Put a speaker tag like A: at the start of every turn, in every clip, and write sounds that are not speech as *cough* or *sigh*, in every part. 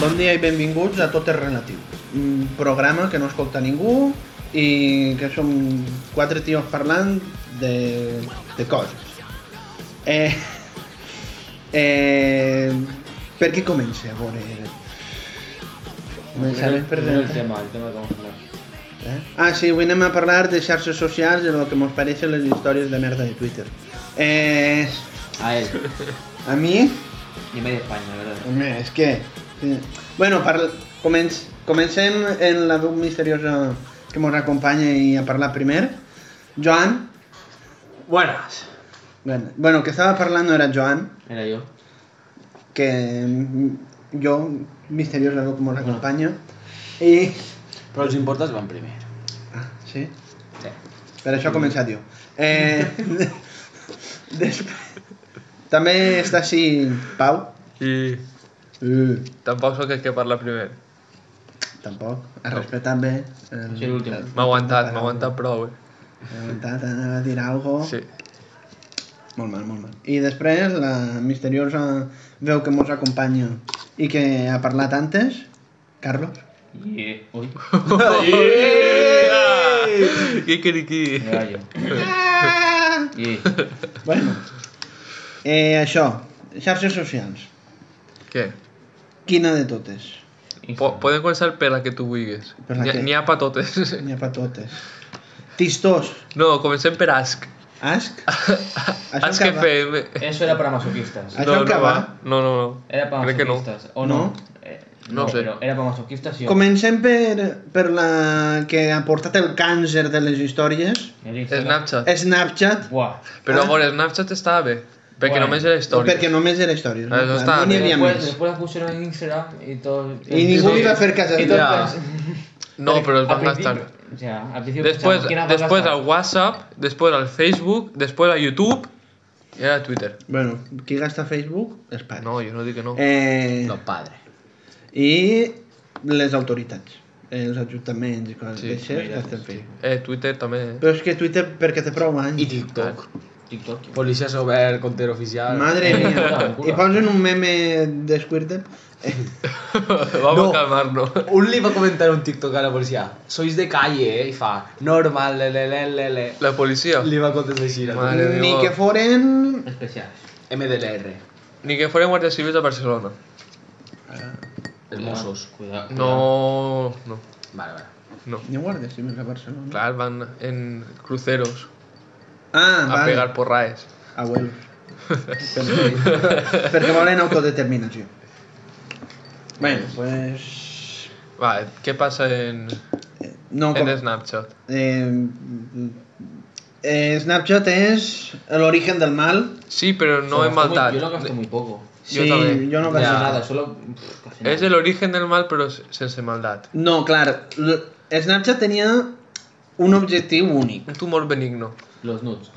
A: Bon dia i benvinguts a Tot és Relatiu, un programa que no escolta ningú i que som quatre tios parlant de, de coses. Eh, eh, per qui comença? A veure... Començarem per...
B: Primer el tema, el tema que vamos a hablar.
A: Eh? Ah, sí, avui anem a parlar de xarxes socials i el que mos pareixen les històries de merda de Twitter. Eh,
B: A él.
A: a mi,
B: Ni medio España, la verdad.
A: Home, és que... sí. Bueno, parl... Comenc... comencem en la dub misteriosa que mos acompanya i a parlar primer. Joan,
C: Buenas.
A: bueno, bueno, que estava parlant no era Joan,
B: Era yo.
A: que mm, jo, misteriosa dub que mos acompanya, i...
C: Però els importants van primer.
A: Ah, sí?
B: Sí.
A: Per això ha començat jo. Eh... *laughs* Després... També està així Pau.
D: I
A: Uh,
D: tampoc sóc el que parla primer.
A: tampoc. Ha respectat bé. el-
B: Sí, l'últim.
A: el-
D: M'ha aguantat,
A: la
D: m'ha aguantat prou, eh?
A: He aguantat, anava a dir algo.
D: Sí. *laughs*
A: Molt mal, molt mal. I després la misteriosa veu que mos acompanya i que ha parlat antes, Carlos.
B: Y... Uy.
D: Quiquiriquí.
B: Era yo. Y...
A: Bueno, eh, això, xarxes socials.
D: Què?
A: Quina de totes?
D: Po podem començar per la que tu vulguis.
A: Per la
D: N'hi
A: que-
D: ha- N'hi ha pa totes.
A: N'hi ha per totes. Tistós,
D: *laughs* No, comencem per Ask. *laughs*
A: Ask.
D: Ask que
A: va-
D: fem...
B: Eso era para masoquistas.
A: Això
D: No,
A: que
D: no
A: va.
D: va. No, no, no.
B: Era para
D: Crec que no.
B: masoquistas. ¿O no?
A: No.
B: Eh,
D: No sé.
B: Pero era para masoquistas y...
A: Comencem per, per la que ha portat el càncer de les històries.
D: Snapchat.
A: Snapchat,
B: Buah.
A: Eh, Ah.
D: Però a veure, Snapchat estava bé. Perquè
B: Bueno,
D: només era història.
A: perquè només era històries.
D: Ah,
A: no,
D: això està
A: no n'hi
D: bé.
A: havia
B: Después,
A: més.
B: después la pusieron en Instagram y todo...
A: I ningú li va fer cas a
B: Y todo
D: Ja.
B: *laughs*
D: No, però es van gastar.
B: Ya, al principio
D: Després,
B: pensamos, ¿quién las va a
D: després
B: gastar?
D: al WhatsApp, després al Facebook, després a YouTube i ara a Twitter.
A: Bueno, qui gasta Facebook, els pares.
D: No, jo no dic que no.
A: Eh,
C: Los padres.
A: I les autoritats, eh, els ajuntaments i coses
D: Sí,
A: sí, d'aixes
B: mira,
A: gasten Facebook.
D: Eh, Twitter també. *laughs* eh?
A: Però és que Twitter, perquè té prou
C: I
A: anys.
C: TikTok.
B: TikTok.
C: Policia sobre el comptero oficial.
A: Madre
D: *laughs*
A: mía.
B: Locura.
A: I posen un meme de Squirtle.
D: Vamos a calmarnos.
C: Un li va comentar un TikTok a la policia. Sois de calle, eh? I fa, normal, le, le, le, le, le.
D: La policia.
C: Li va contestar així. no?
D: Madre. oh. Vale,
A: Ni
D: digo-
A: que foren...
B: Especiales.
C: MDLR.
D: Ni que fueran guardias civiles de Barcelona.
C: Els Mossos.
B: Cuidado.
D: No, no,
C: Vale, vale.
D: no.
A: Ni guardes, si a Barcelona.
D: Claro, van en cruceros
A: Ah,
D: a
A: vale.
D: pegar porraes. *laughs*
A: Abuelos. perquè, perquè volen autodeterminació. Bueno, pues...
D: Vale, ¿qué pasa en,
A: No, com...
D: en Snapchat?
A: eh, eh, Snapchat és l'origen del mal.
D: Sí, pero no es maldad.
B: Yo lo gasto muy poco.
D: Jo
A: sí,
D: també.
A: jo no
B: No gasto
A: gasto
C: Ja.
B: nada, solo. pff, casi nada.
D: Es el origen del mal, pero sin maldad.
A: No, clar, l- Snapchat tenia un objectiu únic.
D: Un tumor benigno.
B: Los nudes.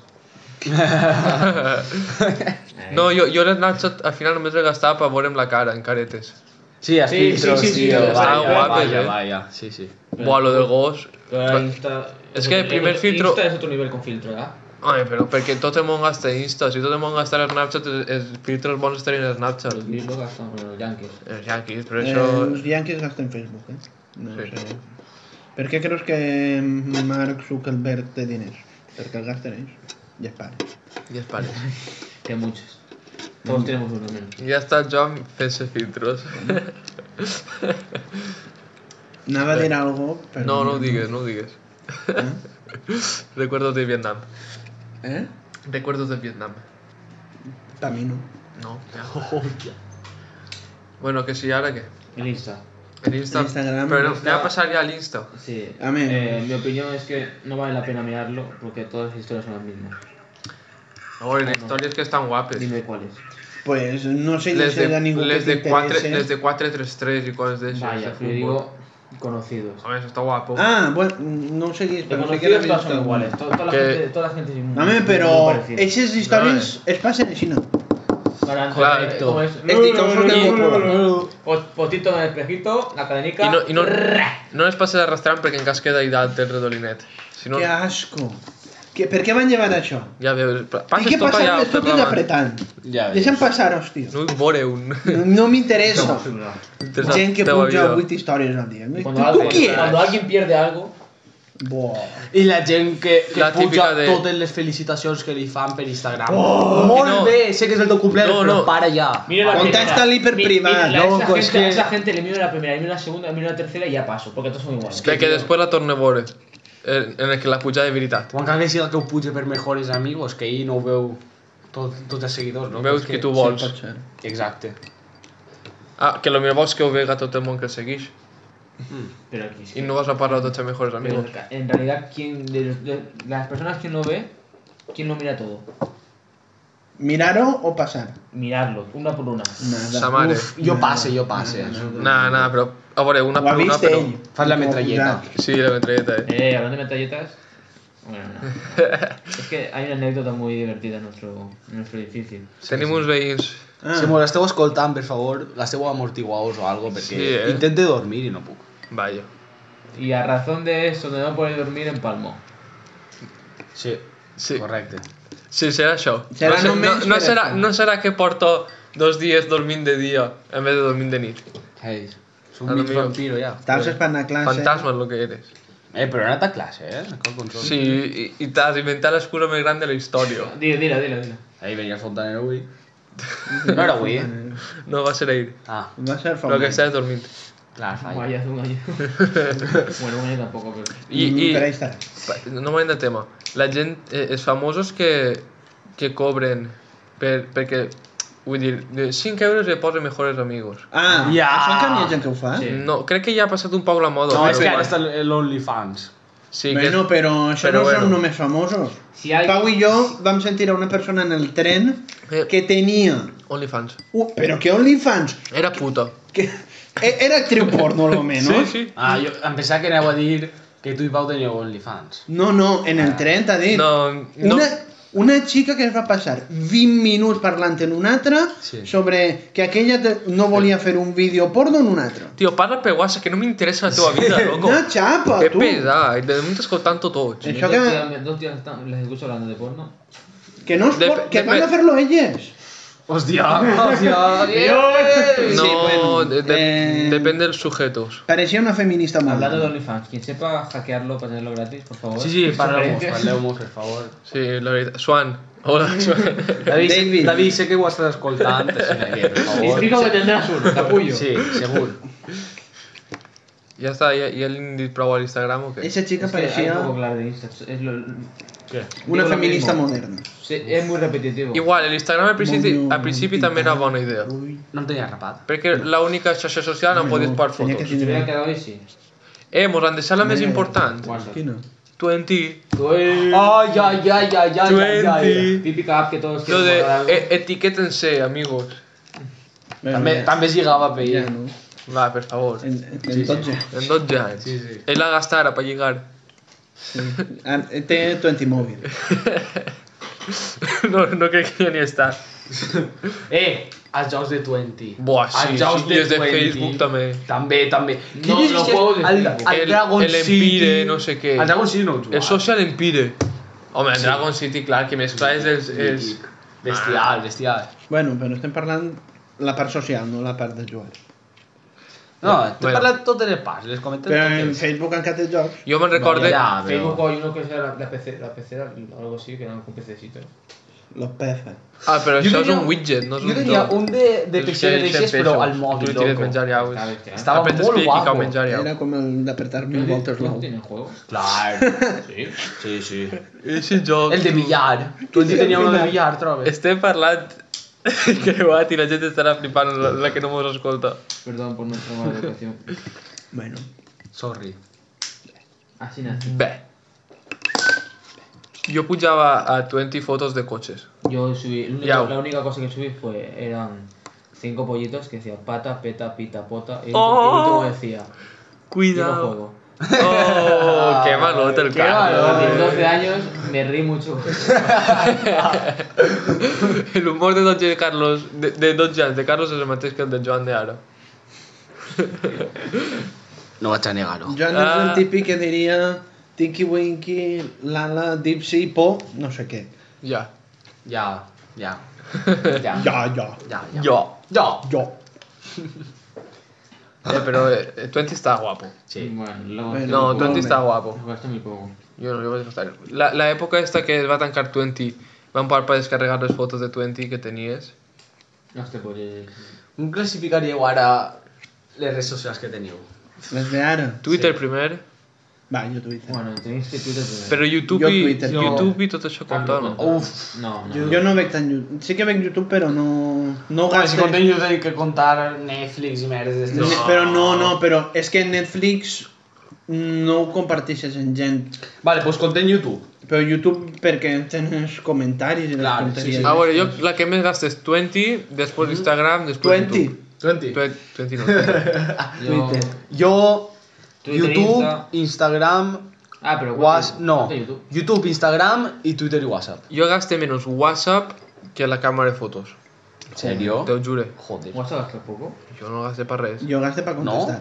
D: No, yo, yo el Snapchat al final només el gastava per veure'm la cara, en caretes.
C: Sí, a
B: Sí,
C: filtros,
B: sí, sí, sí,
C: tio.
B: sí, sí,
C: Vaya,
D: sí, guapos,
C: vaya,
D: eh.
C: vaya. Sí, sí.
D: Buah, lo del gos...
B: Pero ahora Insta-
D: Es que el primer
B: Insta
D: filtro-
B: Insta es otro nivel con filtro, ¿verdad?
D: Ai, però perquè tot el món gasta Insta, si tot el món gasta Snapchat, els, els filtres bons estarien a Snapchat.
B: Los nudes lo gastan con los yankees.
D: Els yanquis, però
A: Eh,
D: això...
A: els Yankees gasten Facebook, eh? No
D: Sí.
A: sé. Per què creus que em, Mark Zuckerberg té diners? Perquè el gasten ells. I els pares.
D: Ja es pares.
B: Que muchos. Todos
D: Mm.
B: tenemos uno menos.
D: Ja està el Joan fent-se filtros.
A: Anava a dir algo, però...
D: No, no ho digues, no ho digues. Recuerdos de Vietnam.
A: Eh?
D: Recuerdos de Vietnam.
A: Pa mi no.
D: No. *laughs* Oh, Bueno, que sí, ara què?
B: El Insta.
D: El Insta...
A: L'Instagram.
D: Però anem a passar ja a l'Insta.
B: Sí.
A: Amén.
B: Eh, mi opinión es que no vale la pena mirarlo porque todas las historias son las mismas.
D: A veure, les històries que estan guapes.
B: Dime cuáles.
A: Pues no sé
D: Les
A: si
D: de,
A: hi ha ningú
D: les
A: que
D: de 4,
A: t'interesse.
D: les de 4-3-3 i coses d'això.
B: Vaya,
D: de
B: yo
D: futbol.
B: digo conocidos.
D: A ver, eso está guapo.
A: Ah, bueno, no seguís,
B: Los
A: pero sí que
B: conocidos todos
A: visto.
B: son iguales. to- Toda la
D: Que-
B: gente, toda la gente es muy-
A: Dame,
B: muy
A: pero
B: parecida.
A: esas historias
D: eh.
A: es pasen en China.
B: Garante,
D: Claro.
B: recto.
D: ¿Cómo
A: Es decir, como que
B: Y-
A: como cueva.
B: Pot- Pues, Potito en el espejito, la cadenica.
D: I no, i no,
B: Rrrra.
D: no les passis arrastrant perquè en cas queda idat el redolinet. Si no,
A: Que asco. Que, per què van llevar això?
D: ja veus,
A: I
D: passes
A: què
D: tot allà
A: passa amb les
D: tota per
A: totes
D: davant.
A: apretant?
C: Ja veus.
A: Deixa'm passar, hòstia.
D: No vull veure un...
A: No, no m'interessa.
D: Interessant,
A: Gent que
D: teva
A: puja
D: vida.
A: 8 històries al dia. Tu,
B: Cuando
A: tu
B: alguien-
A: qui
B: cuando
A: ets?
B: alguien pierde algo,
A: Buah.
C: I la gent que, que
D: La
C: puja
D: típica de-
C: totes les felicitacions que li fan per Instagram.
A: Oh,
C: Molt
D: no.
C: bé, sé que és el teu cumpleaños,
D: No,
C: però
D: no.
C: para ja.
B: miro la
A: Contesta
B: primera.
A: al hiperprimat,
B: Mi- mi- la-
C: loco,
B: esa
C: es
B: gente-
C: que-
B: A esa gente le miro la primera, le miro la segunda, le miro la tercera y ya paso, porque todos son iguales.
D: Bé, que després la torne a veure, en, en el que la puja de veritat.
C: O encara que siga que ho puja per mejores amigos, que ahir no ho veu tot, tots els seguidors, no?
D: Veus
C: És
D: qui tu vols.
A: pot ser.
C: Exacte.
D: Ah, que lo millor vols que ho vega tot el món que el segueix.
B: Pero aquí sí.
D: I no vas a parlar tots els mejores
B: Pero
D: amigos.
B: en realidad, ¿quién de, los- de las personas que no ve, quién no mira todo?
A: Mirar-ho o passar?
B: Mirarlo, una por una.
A: Nada.
D: Sa mare.
C: Uf, jo passe, jo passe.
D: Nah, nah, però... A veure, una
A: Ho ha
D: per una,
A: vist
D: però...
A: ell.
C: Fas la
A: Com
C: metralleta.
A: posar.
D: Sí, la metralleta, eh.
B: Eh, hablando de metralletas. Bueno,
D: *laughs*
B: no. es que hay una anécdota muy divertida en nuestro, en nuestro edificio.
D: Tenim uns veïns...
A: Ah,
C: Si mos esteu escoltant, per favor, la esteu amortiguaos o algo, perquè
D: Sí, eh.
C: intente dormir i no puc.
D: Vaya.
B: Y a razón de eso, de no poder dormir, empalmó.
C: Sí,
D: Sí.
C: correcte.
D: Sí, serà això.
A: Serà
D: no, sé-
A: només
D: no, no,
A: per
D: serà,
A: això.
D: no serà que porto dos dies dormint de dia en vez de dormint de nit.
C: Hey, soc
D: Ara
C: un mig
D: miro.
C: vampiro, ja.
A: T'alces per anar a classe.
D: Fantasma és el que eres.
C: Eh, però he anat a classe, eh? Cal consol.
D: Sí, i, i t'has inventat l'excusa més gran de la història.
B: Dilo, dilo, dilo, dilo.
C: Ahir venia el fontanero avui. No era avui, eh?
D: No va ser ahir.
C: Ah,
A: Va ser
D: Lo que
A: famós.
D: estàs dormint.
C: clar, falla.
B: Vaya, un año. bueno, un año tampoco, pero.
D: I, i
A: Per ahí està.
D: pa- no m'anem de tema. La gent, eh, els famosos que, que cobren per, perquè, vull dir, de 5 euros li posa mejores amigos.
A: Ah,
C: Ja.
A: això que hi ha gent que ho fa?
B: Sí.
D: No, crec que ja ha passat un poc la moda.
C: No,
D: però
C: és que
D: igual.
C: ara està l'OnlyFans.
D: Sí, que...
A: Bueno, però això
D: però
A: no
D: bueno.
A: són només famosos.
B: Si hay.
A: Pau i jo vam sentir a una persona en el tren
D: Eh.
A: que tenia...
D: OnlyFans.
A: Uh, però que OnlyFans...
D: Era puta.
A: Que... e- Era actriu porno, lo
D: *laughs* Sí,
A: menos.
D: sí.
C: Ah, jo em pensava que aneu a dir que tu i Pau teniu OnlyFans.
A: No, no, en el tren t'ha dit.
D: Ah, No, no.
A: Una, una xica que es va passar 20 minuts parlant en una altra
C: Sí.
A: sobre que aquella te- no volia fer un vídeo porno en una altra.
D: Tio, parla per WhatsApp, que no m'interessa la teva vida,
A: *laughs*
D: loco.
A: Una xapa,
D: Que
A: tu.
D: pesa, i de moment t'escoltant tots.
A: Això
B: Dos
A: que-
B: días, me- dos días están- les escucho hablando de porno.
A: Que no es
D: Dep-
A: por... que
D: dep-
A: van a fer-lo elles.
C: Hòstia, hòstia,
D: No,
A: Sí, bueno,
D: de, de,
A: eh,
D: depèn dels sujetos.
A: Pareixia una feminista molt.
B: Hablando de OnlyFans, quien sepa hackearlo para tenerlo gratis, por favor.
C: Sí, sí, parleu-mos,
B: Sugerencias.
C: parleu-mos, per favor.
D: Sí, la veritat. Swan. Hola, Swan. *laughs*
C: David,
A: David.
C: David. David, sé que ho estàs escoltant, te seguiré, per favor.
B: Explica que tendrás uno, capullo.
C: Sí, segur.
D: ja està, ja, ja li hem dit prou a l'Instagram o què?
A: Esa chica
B: Es que hay
A: pareixia
B: poco claro de Insta, es lo-
C: Què?
A: una
B: Digo lo
A: feminista
B: mismo.
A: moderna.
B: Sí, es muy repetitivo.
D: Igual, l'Instagram al principi,
A: Moño,
D: al principi també era bona idea.
A: Ui.
C: No en tenia rapat.
D: Perquè l'única xarxa social no
A: Moño,
D: podies posar
A: tenia que
D: fotos.
B: Si te hubiera
A: tindre-
B: quedado ahí, sí.
D: Eh, mos han deixat la més important.
B: WhatsApp.
A: Quina?
D: 20.
B: Tú-
C: Ai, ai, ai, ai, ai, ai, ai.
D: 20.
B: Típica app que todos
D: Lo
B: quieren
D: de
B: guardar.
D: eh, etiquétense, amigos.
A: Bueno,
C: També,
A: ja-
C: també es lligava per
A: ja,
C: ell.
A: no?
D: Va, per favor.
A: En, en tot ja.
D: En 12 anys.
C: Sí, sí.
D: Ell la gastara per lligar. *laughs*
A: Ara, Té 20 mòbil.
D: No, no crec que ja ni està.
C: Eh, els jocs de 20.
D: Buah, sí,
C: Els jocs
D: sí, i els de Facebook també.
C: També, també.
B: No,
C: Quin és
B: los
C: este?
B: juegos de
C: el,
B: Facebook.
C: el,
D: El-
C: Dragon
D: el
C: City.
D: Empire, no sé què.
C: El Dragon City no ho jugava.
D: El Social Empire. Home, el Dragon City, clar, que més clar és... és, és...
C: Bestial, bestial.
A: Bueno, però estem parlant la part social, no la part de jugar.
C: No, t'he
D: Bueno.
C: parlat totes les parts, les comentem
A: Però en
C: totes.
A: Facebook encara té jocs.
D: Jo me'n recorde...
C: ja, ja,
B: Facebook
C: però...
B: hay uno que sea la, la PC, la pecera o algo así, que era con pececitos.
A: Los peces.
D: Ah, però
C: Jo
D: això és
C: tenia-
D: un widget, no és
C: Jo
D: un
C: tenia un de, de
D: És
C: pixel
D: que
C: de
D: deixes
C: deixes, però
D: pesos.
C: al mòbil,
D: Tu tires
C: loco.
D: menjar iaus.
B: Sabes, ya.
C: Estava
D: Apretes
C: molt
D: clic i cau
C: Ah, guapo.
D: menjar iaus.
A: Era com el d'apretar mil voltes
B: ¿Tú no
A: l'ou.
B: tienes juego?
D: *laughs*
C: Clar,
B: Sí.
C: sí, sí.
D: Eixe joc...
C: El de billar. Tu en tenia un de billar, trobes.
D: Estem *laughs* parlant creuat i la gent estarà flipant la, la que no mos escolta.
B: Perdón por nuestra mala educación.
A: Bueno,
C: Eh, Sorry.
B: Así nací.
D: Bé. Jo pujava a 20 fotos de cotxes.
B: Yo subí, lo único-
D: Yao.
B: la única cosa que subí fue, eran cinco pollitos que decían pata, peta, pita, pota. Y el
D: Oh.
B: último decía, Y no
D: Cuidado.
B: juego.
D: *laughs* Oh, qué malote el
C: Qué
D: Carlos.
B: A
C: Ay.
B: los 12 años me reí mucho.
D: El humor de Don Jan Carlos, de, de Don Jan, de Carlos és el mateix que el de Joan de ara.
C: No vaig a negar-ho.
A: Jo no és
D: Ah.
A: el típic que diria Tinky Winky, Lala, Dipsy, Po, no sé què.
D: Ja.
C: Ja, *laughs* ja. Ja, ja,
A: Ja, ja,
C: ja.
D: Jo.
C: Ja.
A: ja.
D: Eh, però eh, Twenty està guapo.
C: Sí.
B: Bueno, luego
A: Bueno,
D: No,
A: Molt
D: Twenty
A: bé.
D: està guapo.
B: Jugaste muy poco.
D: Jo no, jo vaig gastar. La, la època esta que es va tancar Twenty, van parar per descarregar les fotos de Twenty que tenies.
B: Hostia, pues. eh,
C: Com classificaríeu ara les redes socials que teniu?
A: Les de ara.
D: Twitter sí. primer,
A: Va, jo Twitter.
B: Bueno, tenéis que Twitter primero.
D: però YouTube,
A: Jo
D: i,
A: Twitter.
D: Twitter, YouTube i tot això compta, no?
C: Uf.
B: No, no.
A: Jo, jo no veig tant YouTube. Sí que veig YouTube, però no... No
C: Home, si
A: gasto...
C: content jo tenir que contar Netflix i merdes este d'estes.
A: Ne- Però no, no, però és que Netflix no ho comparteixes en gent.
C: Vale, doncs content YouTube.
A: Però YouTube perquè tens comentaris i les
C: Clar,
A: tonteries.
C: sí, Ah, sí.
D: A veure, jo Ah, la que més gastes 20, després Instagram, després
A: 20.
D: YouTube.
C: 20.
D: Twe- 20 no, Twitter.
B: Yo-
A: Twitter.
C: Jo,
B: Twitter,
C: YouTube,
B: Insta.
C: Instagram,
B: Ah, pero.
C: WhatsApp... No,
B: de YouTube.
C: YouTube, Instagram i Twitter i WhatsApp.
D: Jo gaste menys WhatsApp que la càmera de fotos.
C: En sèrio?
D: Te ho jure.
C: Joder.
B: ¿WhatsApp hace poco?
D: Jo no gaste per res.
A: Jo gasto per
C: No?
A: contestar.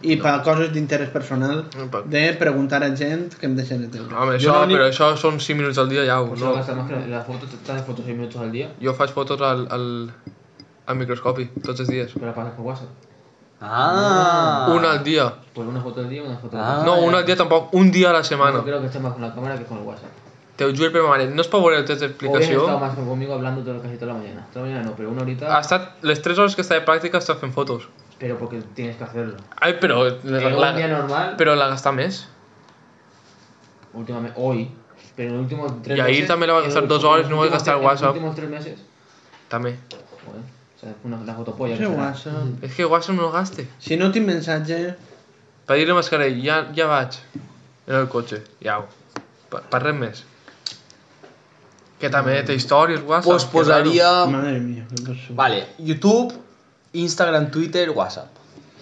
A: I per coses d'interès personal,
D: No, per-
A: de preguntar a gent que em deixen de teure.
D: Home,
C: Jo
D: això,
C: l'únic-
D: però això són 5 minuts al dia ja, ho,
B: Pues
D: no?
B: no. hasta más que las fotos, te haces fotos 6 minutos al día,
D: Jo faig fotos al, al, al microscopi, tots els dies.
B: pero las pasas por WhatsApp.
C: Ah.
D: Una al dia.
B: Pues una foto al día, una foto
C: Ah,
B: al día.
D: No,
C: eh.
D: una al dia tampoc, un dia a la
B: Yo
D: setmana.
B: creo que esté más con la cámara que con el WhatsApp.
D: Te ho juro per ma mare, no és per veure el test
B: Hoy has estado
D: d'explicació.
B: más conmigo hablando todo, casi toda la mañana. Toda la mañana no, pero una horita.
D: Ha estat, les 3 hores que està de pràctica està fent fotos.
B: Pero porque tienes que hacerlo.
D: Ai, però...
B: En
D: La,
B: un día
D: la,
B: normal,
D: però la gasta més.
B: últimamente, hoy, pero en los últimos tres
D: Y ahí también le va a
B: en
C: Eh,
B: los
D: gastar dos horas,
B: últimos
D: no va a
B: tres-
D: gastar
B: en los
D: WhatsApp.
B: últimos tres meses,
D: També.
B: joder, o sea, una, una fotopolla.
A: No sé,
B: que será.
A: WhatsApp.
D: És que WhatsApp no gaste.
A: Si no tinc missatge,
D: Per dir-li a Mascarell, ja, ja vaig. En el cotxe, ja ho. Per, per res més. Que també té històries, WhatsApp.
C: Pues
D: que
C: posaria...
A: madre mía, que gosso.
C: Vale, YouTube, Instagram, Twitter, WhatsApp.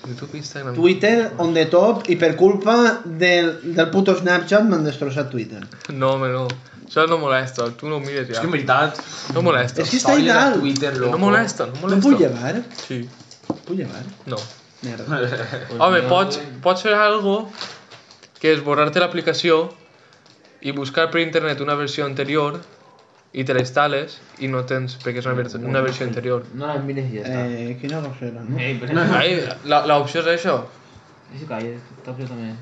D: raro. YouTube, Instagram.
A: Twitter on the top i per culpa del, del puto Snapchat m'han destrossat Twitter.
D: No, home, no. Això no molesta, tu no ho mires
C: És
D: ja.
C: que en veritat...
D: No molesta.
A: És que està
C: històries de
A: ideal.
C: Twitter, loco.
D: No molesta, no
A: No
D: molesta.
A: puc llevar?
D: Sí,
A: Puc llevar?
D: no.
A: Merda.
B: Pues
D: Home,
B: yo-
D: pots, pots fer algo que és borrar-te l'aplicació i buscar per internet una versió anterior i te la instal·les i no tens, perquè és una, ver una versió anterior.
B: No las mires y ya está.
A: Eh, quina gossera, no?
B: Ey, pero
D: Ai, la- l'opció és això.
B: eso cae, esta opción también.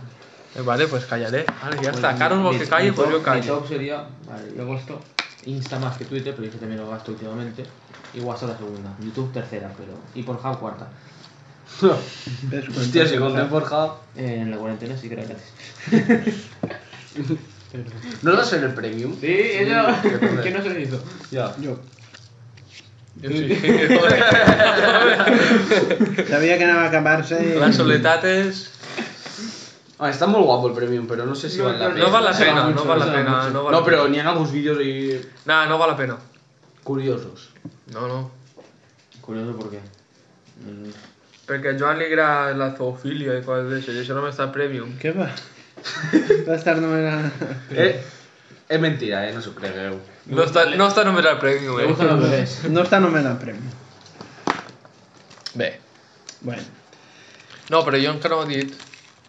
D: Eh, vale, pues callaré. Vale, ya está.
B: Pues,
D: Carlos
B: mi-
D: vol que calle,
B: mi
D: pues
B: top-
D: yo
B: Mi
D: callo.
B: top sería, vale, yo gasto Insta más que Twitter, pero yo también lo gasto últimamente. Y WhatsApp la segunda, YouTube tercera, pero. Y por Hub cuarta.
A: Ves,
C: Hòstia, si
A: comptes.
C: content por Hub...
B: Eh, en la cuarentena sí que era gratis.
C: No l'has fet el premium?
B: Sí, eso. *laughs*
C: joder.
B: que no se lo hizo.
C: Ja.
A: Jo.
D: Jo sí. *laughs* Joder,
A: Sabia que anava a acabar-se... i-
D: La soledat és...
C: Ah, està molt guapo el premium, però no sé si
B: No,
C: val la
B: no,
D: No
C: pena.
D: val la pena, no
B: mucho,
D: val la
B: pesa
D: pena.
B: mucho.
D: No, val
C: No,
D: la
C: però n'hi ha alguns vídeos ahí
D: pena. Nah, no val la pena.
C: curiosos.
D: No, no.
B: Curioso por qué. Mm,
D: Perquè a Joan li agrada la zoofilia i coses d'això, i això no m'està premium.
A: Què va? Va estar només a...
C: Eh, és mentira, eh? No s'ho cregueu.
D: No està, no està només al premium,
B: Me
D: eh?
B: gustan los bebés.
A: No està només al premi.
D: Bé.
A: Bueno.
D: No, però jo encara no he dit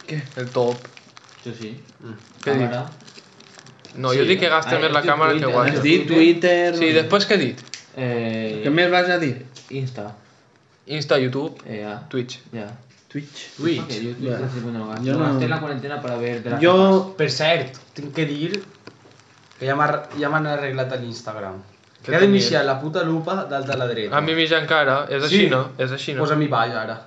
A: Què?
D: el top.
B: Yo sí.
D: Què dic?
B: Cámara.
D: No, jo dic que gaste
B: Ah,
D: més la
B: tu
D: càmera que
B: Twitter,
A: Has
D: guanya.
A: dit Twitter...
D: Sí, després què he dit?
B: Eh,
A: Què més vas a dir?
B: Insta.
D: Insta, YouTube,
B: Eh, ya.
D: Twitch.
B: ya.
A: Twitch.
B: Ok,
C: Twitch.
B: yo, yo
A: Ya.
B: casi, bueno, gasto-
A: Yo no-
B: gasté la cuarentena para ver Drag
A: Jo...
C: Per cert, tinc que dir que ja m'ha- ja m'han arreglat a l'Instagram.
D: Què
C: Que ha de
D: tenies?
C: mixar la puta lupa dalt de la dreta.
D: A mi mitja encara, és així,
C: Sí.
D: no? És així, no?
C: Posa mi baix, ara.
B: A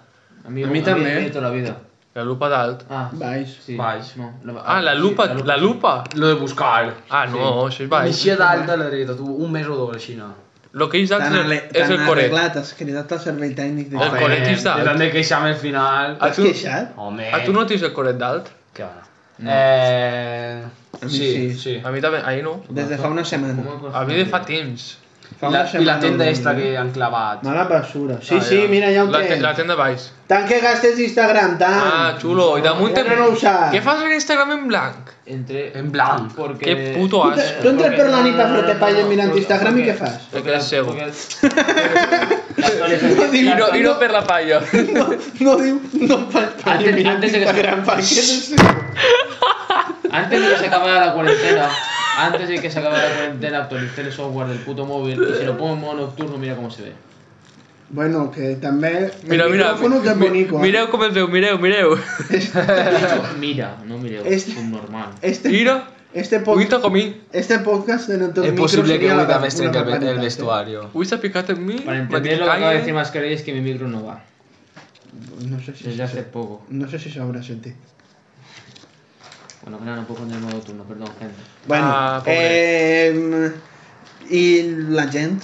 B: mí,
A: A mí
B: a
A: también.
B: de toda la vida.
D: La lupa dalt.
B: Ah,
A: Baix.
B: sí.
C: Baix.
B: No,
D: Ah, la
B: sí,
D: lupa, la lupa.
C: Lo de buscar.
D: Ah, no, això és
C: Va,
D: baix.
C: Mixia dalt de la dreta, tu, un mes o dos, així, no.
D: Lo que és dalt
A: Tan, ale...
D: és- és
A: tan
D: el coret.
A: arreglat, has cridat al servei tècnic de...
D: El
C: Home,
D: colet és dalt.
C: Te l'han Eh, de queixar al final.
D: Ah,
A: T'has
D: tu-
A: queixat?
C: Home.
D: A Ah, tu no tens el coret dalt?
C: Què va? Eh...
A: A mi
C: Sí,
A: sí.
C: sí.
D: A mi també, ahir no.
A: Des de fa una setmana.
B: ¿Cómo
D: A mi de fa temps.
A: Fa una
C: La, I la
A: setmana
C: tenda
A: un-
C: extra que han clavat.
A: Mala basura. Sí,
C: Ah,
A: sí,
C: ja.
A: mira, ja ho
D: La, te-
A: tens.
D: la tenda baix.
A: Tant que gastes Instagram, tant.
D: Ah, xulo. I damunt...
A: Ja no ho saps.
D: Què fas en Instagram en blanc?
B: Entre...
C: En blanc.
B: Porque...
D: Qué puto
A: Tu, te- tu
D: asco.
A: entres per la nit a fer-te palla mirant
B: porque-
A: Instagram i
B: porque-
A: què fas?
B: porque-
D: Te quedas ciego.
B: porque- La actualización-
D: I no, i
B: la-
D: no per la palla.
A: No, no diu, no fas palla
B: Antes-
A: mirant
B: antes de que-
A: Instagram, perquè
B: Antes de que se acabara la cuarentena, antes de que se acabara la cuarentena, actualicé el software del puto móvil y si lo pongo en modo nocturno, mira cómo se ve.
A: Bueno, que també...
D: Mira,
A: el
D: mira.
A: micròfon és
D: mi-
A: bonico, eh?
D: Mireu com es veu, mireu, mireu.
B: Mira, no mireu,
A: Es-
B: es subnormal.
A: Este,
D: Mira,
A: este, pod...
D: avui t'ha comí.
A: este podcast en el teu
C: Es
A: micro
C: posible que
A: seria la
C: hoy también
A: una
C: estén el, el
A: barbaritat, eh?
C: vestuario.
D: Avui s'ha picat en mi.
B: Para
D: m'ha dit
B: entender lo que acaba de
D: "Calla".
B: decir Mascarell es que mi micro no va,
A: No sé si,
B: desde hace poco.
A: no sé si s'haurà sentit.
D: Ah,
B: Bueno, claro, no puedo poner en modo nocturno, perdón, gente.
A: Bueno,
D: Ah,
A: eh, i la gent?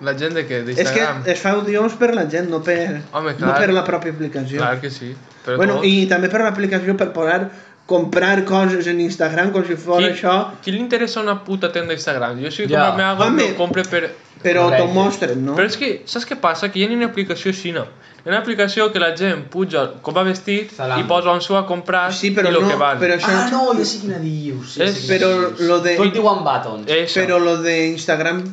D: La gent de què?
A: És que
D: D'Instagram?
A: es fa odiós per la gent, no per,
D: Home,
A: no
D: clar.
A: per la pròpia aplicació.
D: Clar que sí. Però
A: eh, bueno,
D: tot.
A: i també per l'aplicació per poder comprar coses en Instagram com si fos
D: Qui-
A: això,
D: Qui li interessa una puta tenda Instagram? Jo si
C: Ja.
D: yeah. comprarme algo,
A: Home.
D: lo compre per...
A: però t'ho
C: Correcte.
A: mostren, no?
D: Però és que, saps què passa? Que hi ha una aplicació xina. Hi ha una aplicació que la gent puja com va vestit
C: Zalando.
D: i posa on s'ho ha comprat
A: Sí, però
D: i el
A: no,
D: que val.
A: però això...
C: Ah, no, jo sí quina dius. Sí,
D: És-
C: sí,
A: però lo de-
C: Tot diuen batons.
D: Això.
A: Però lo de Instagram,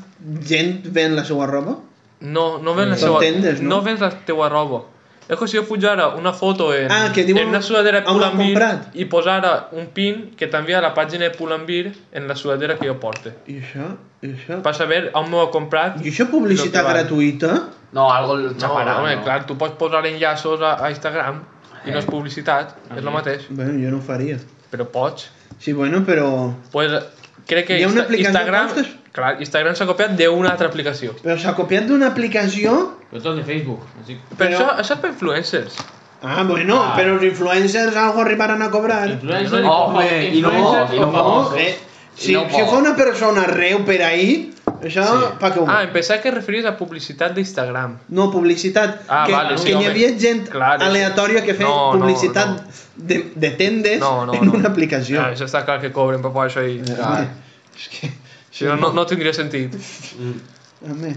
A: gent ven la seva roba?
D: No, no vens la
A: Són
D: seva...
A: tendes, no?
D: no vens la teua roba. És com si jo pujara una foto en,
A: Ah, que diuen
D: en una sudadera
A: on l'ha
D: Pull&Bear
A: comprat.
D: i posara un pin que t'envia a la pàgina de Pull&Bear en la sudadera que jo porte.
A: I això? I això?
D: Per saber on m'ho ha comprat
A: I això publicitat
D: Lo que val.
A: gratuïta?
C: No, algo el
D: No,
C: chaparán.
D: home,
C: no.
D: clar, tu pots posar enllaços a, a Instagram i no
A: Eh.
D: és publicitat, és el mateix,
A: Bueno, jo no ho faria.
D: però pots.
A: Sí, bueno, però...
D: Pues, crec que
A: Hi ha una
D: Insta-
A: aplicació
D: Instagram,
A: que costes?
D: clar, Instagram s'ha copiat d'una altra aplicació.
A: Però s'ha copiat d'una aplicació...
B: Pero todo es de Facebook, así
D: Però,
A: Però-
D: això, això és per influencers.
A: Ah, bueno,
C: Ah.
A: però els influencers algo arribaran a cobrar.
B: Influencer
C: Home, i no,
B: influencer
C: i no
B: o
C: fa-
B: famoso.
A: No, eh, si,
C: No
A: si
C: pot.
A: fa una persona reu per ahí, això
C: Sí.
A: pa que ho...
D: Ah, em pensava que et referies a publicitat d'Instagram.
A: No, publicitat.
D: Ah,
A: que
D: vale, sí,
A: que n'hi
D: home.
A: havia gent
D: Clar, és-
A: aleatòria que feia
D: No, no,
A: publicitat De, de tendes
D: No, no,
A: en
D: no.
A: una aplicació.
D: Ah, això està clar que cobren per posar això i...
A: Eh,
C: clar.
A: home, és que...
D: Si no, no, no tindria sentit.
C: Mm.
A: Home,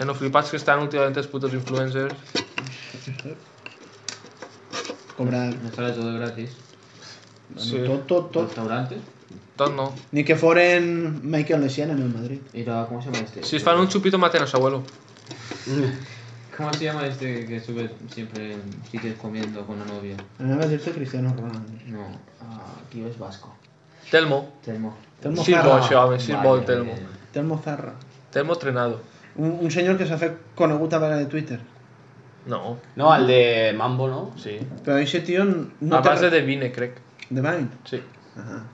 D: En els flipats que estan últimament els putos influencers.
A: cobrar
B: Me sale todo gratis.
D: Sí.
A: tot, tot, tot.
B: Restaurantes.
D: Tot no.
A: Ni que foren Michael Essien en el Madrid.
B: Y la- ¿Cómo se llama este?
D: Si es fan un chupito maten a su abuelo.
B: ¿Cómo se llama este que sube siempre en sitios comiendo con la novia?
A: Anava a dir-te Cristiano Ronaldo.
B: No, ah, tío es vasco.
D: Telmo.
B: Telmo.
A: Telmo
D: Sí, bo,
A: Zarra.
D: això, home, sí, bo,
B: Vale,
D: el Telmo.
B: eh,
A: Telmo Zarra.
D: Telmo trenado.
A: Un, un senyor que s'ha fet conegut a vegades de Twitter.
D: No,
C: No, el de Mambo, no?
D: sí.
A: Però aquest tio no
D: No a base de vine, crec.
A: De Vine?
D: Sí.
A: Ajá.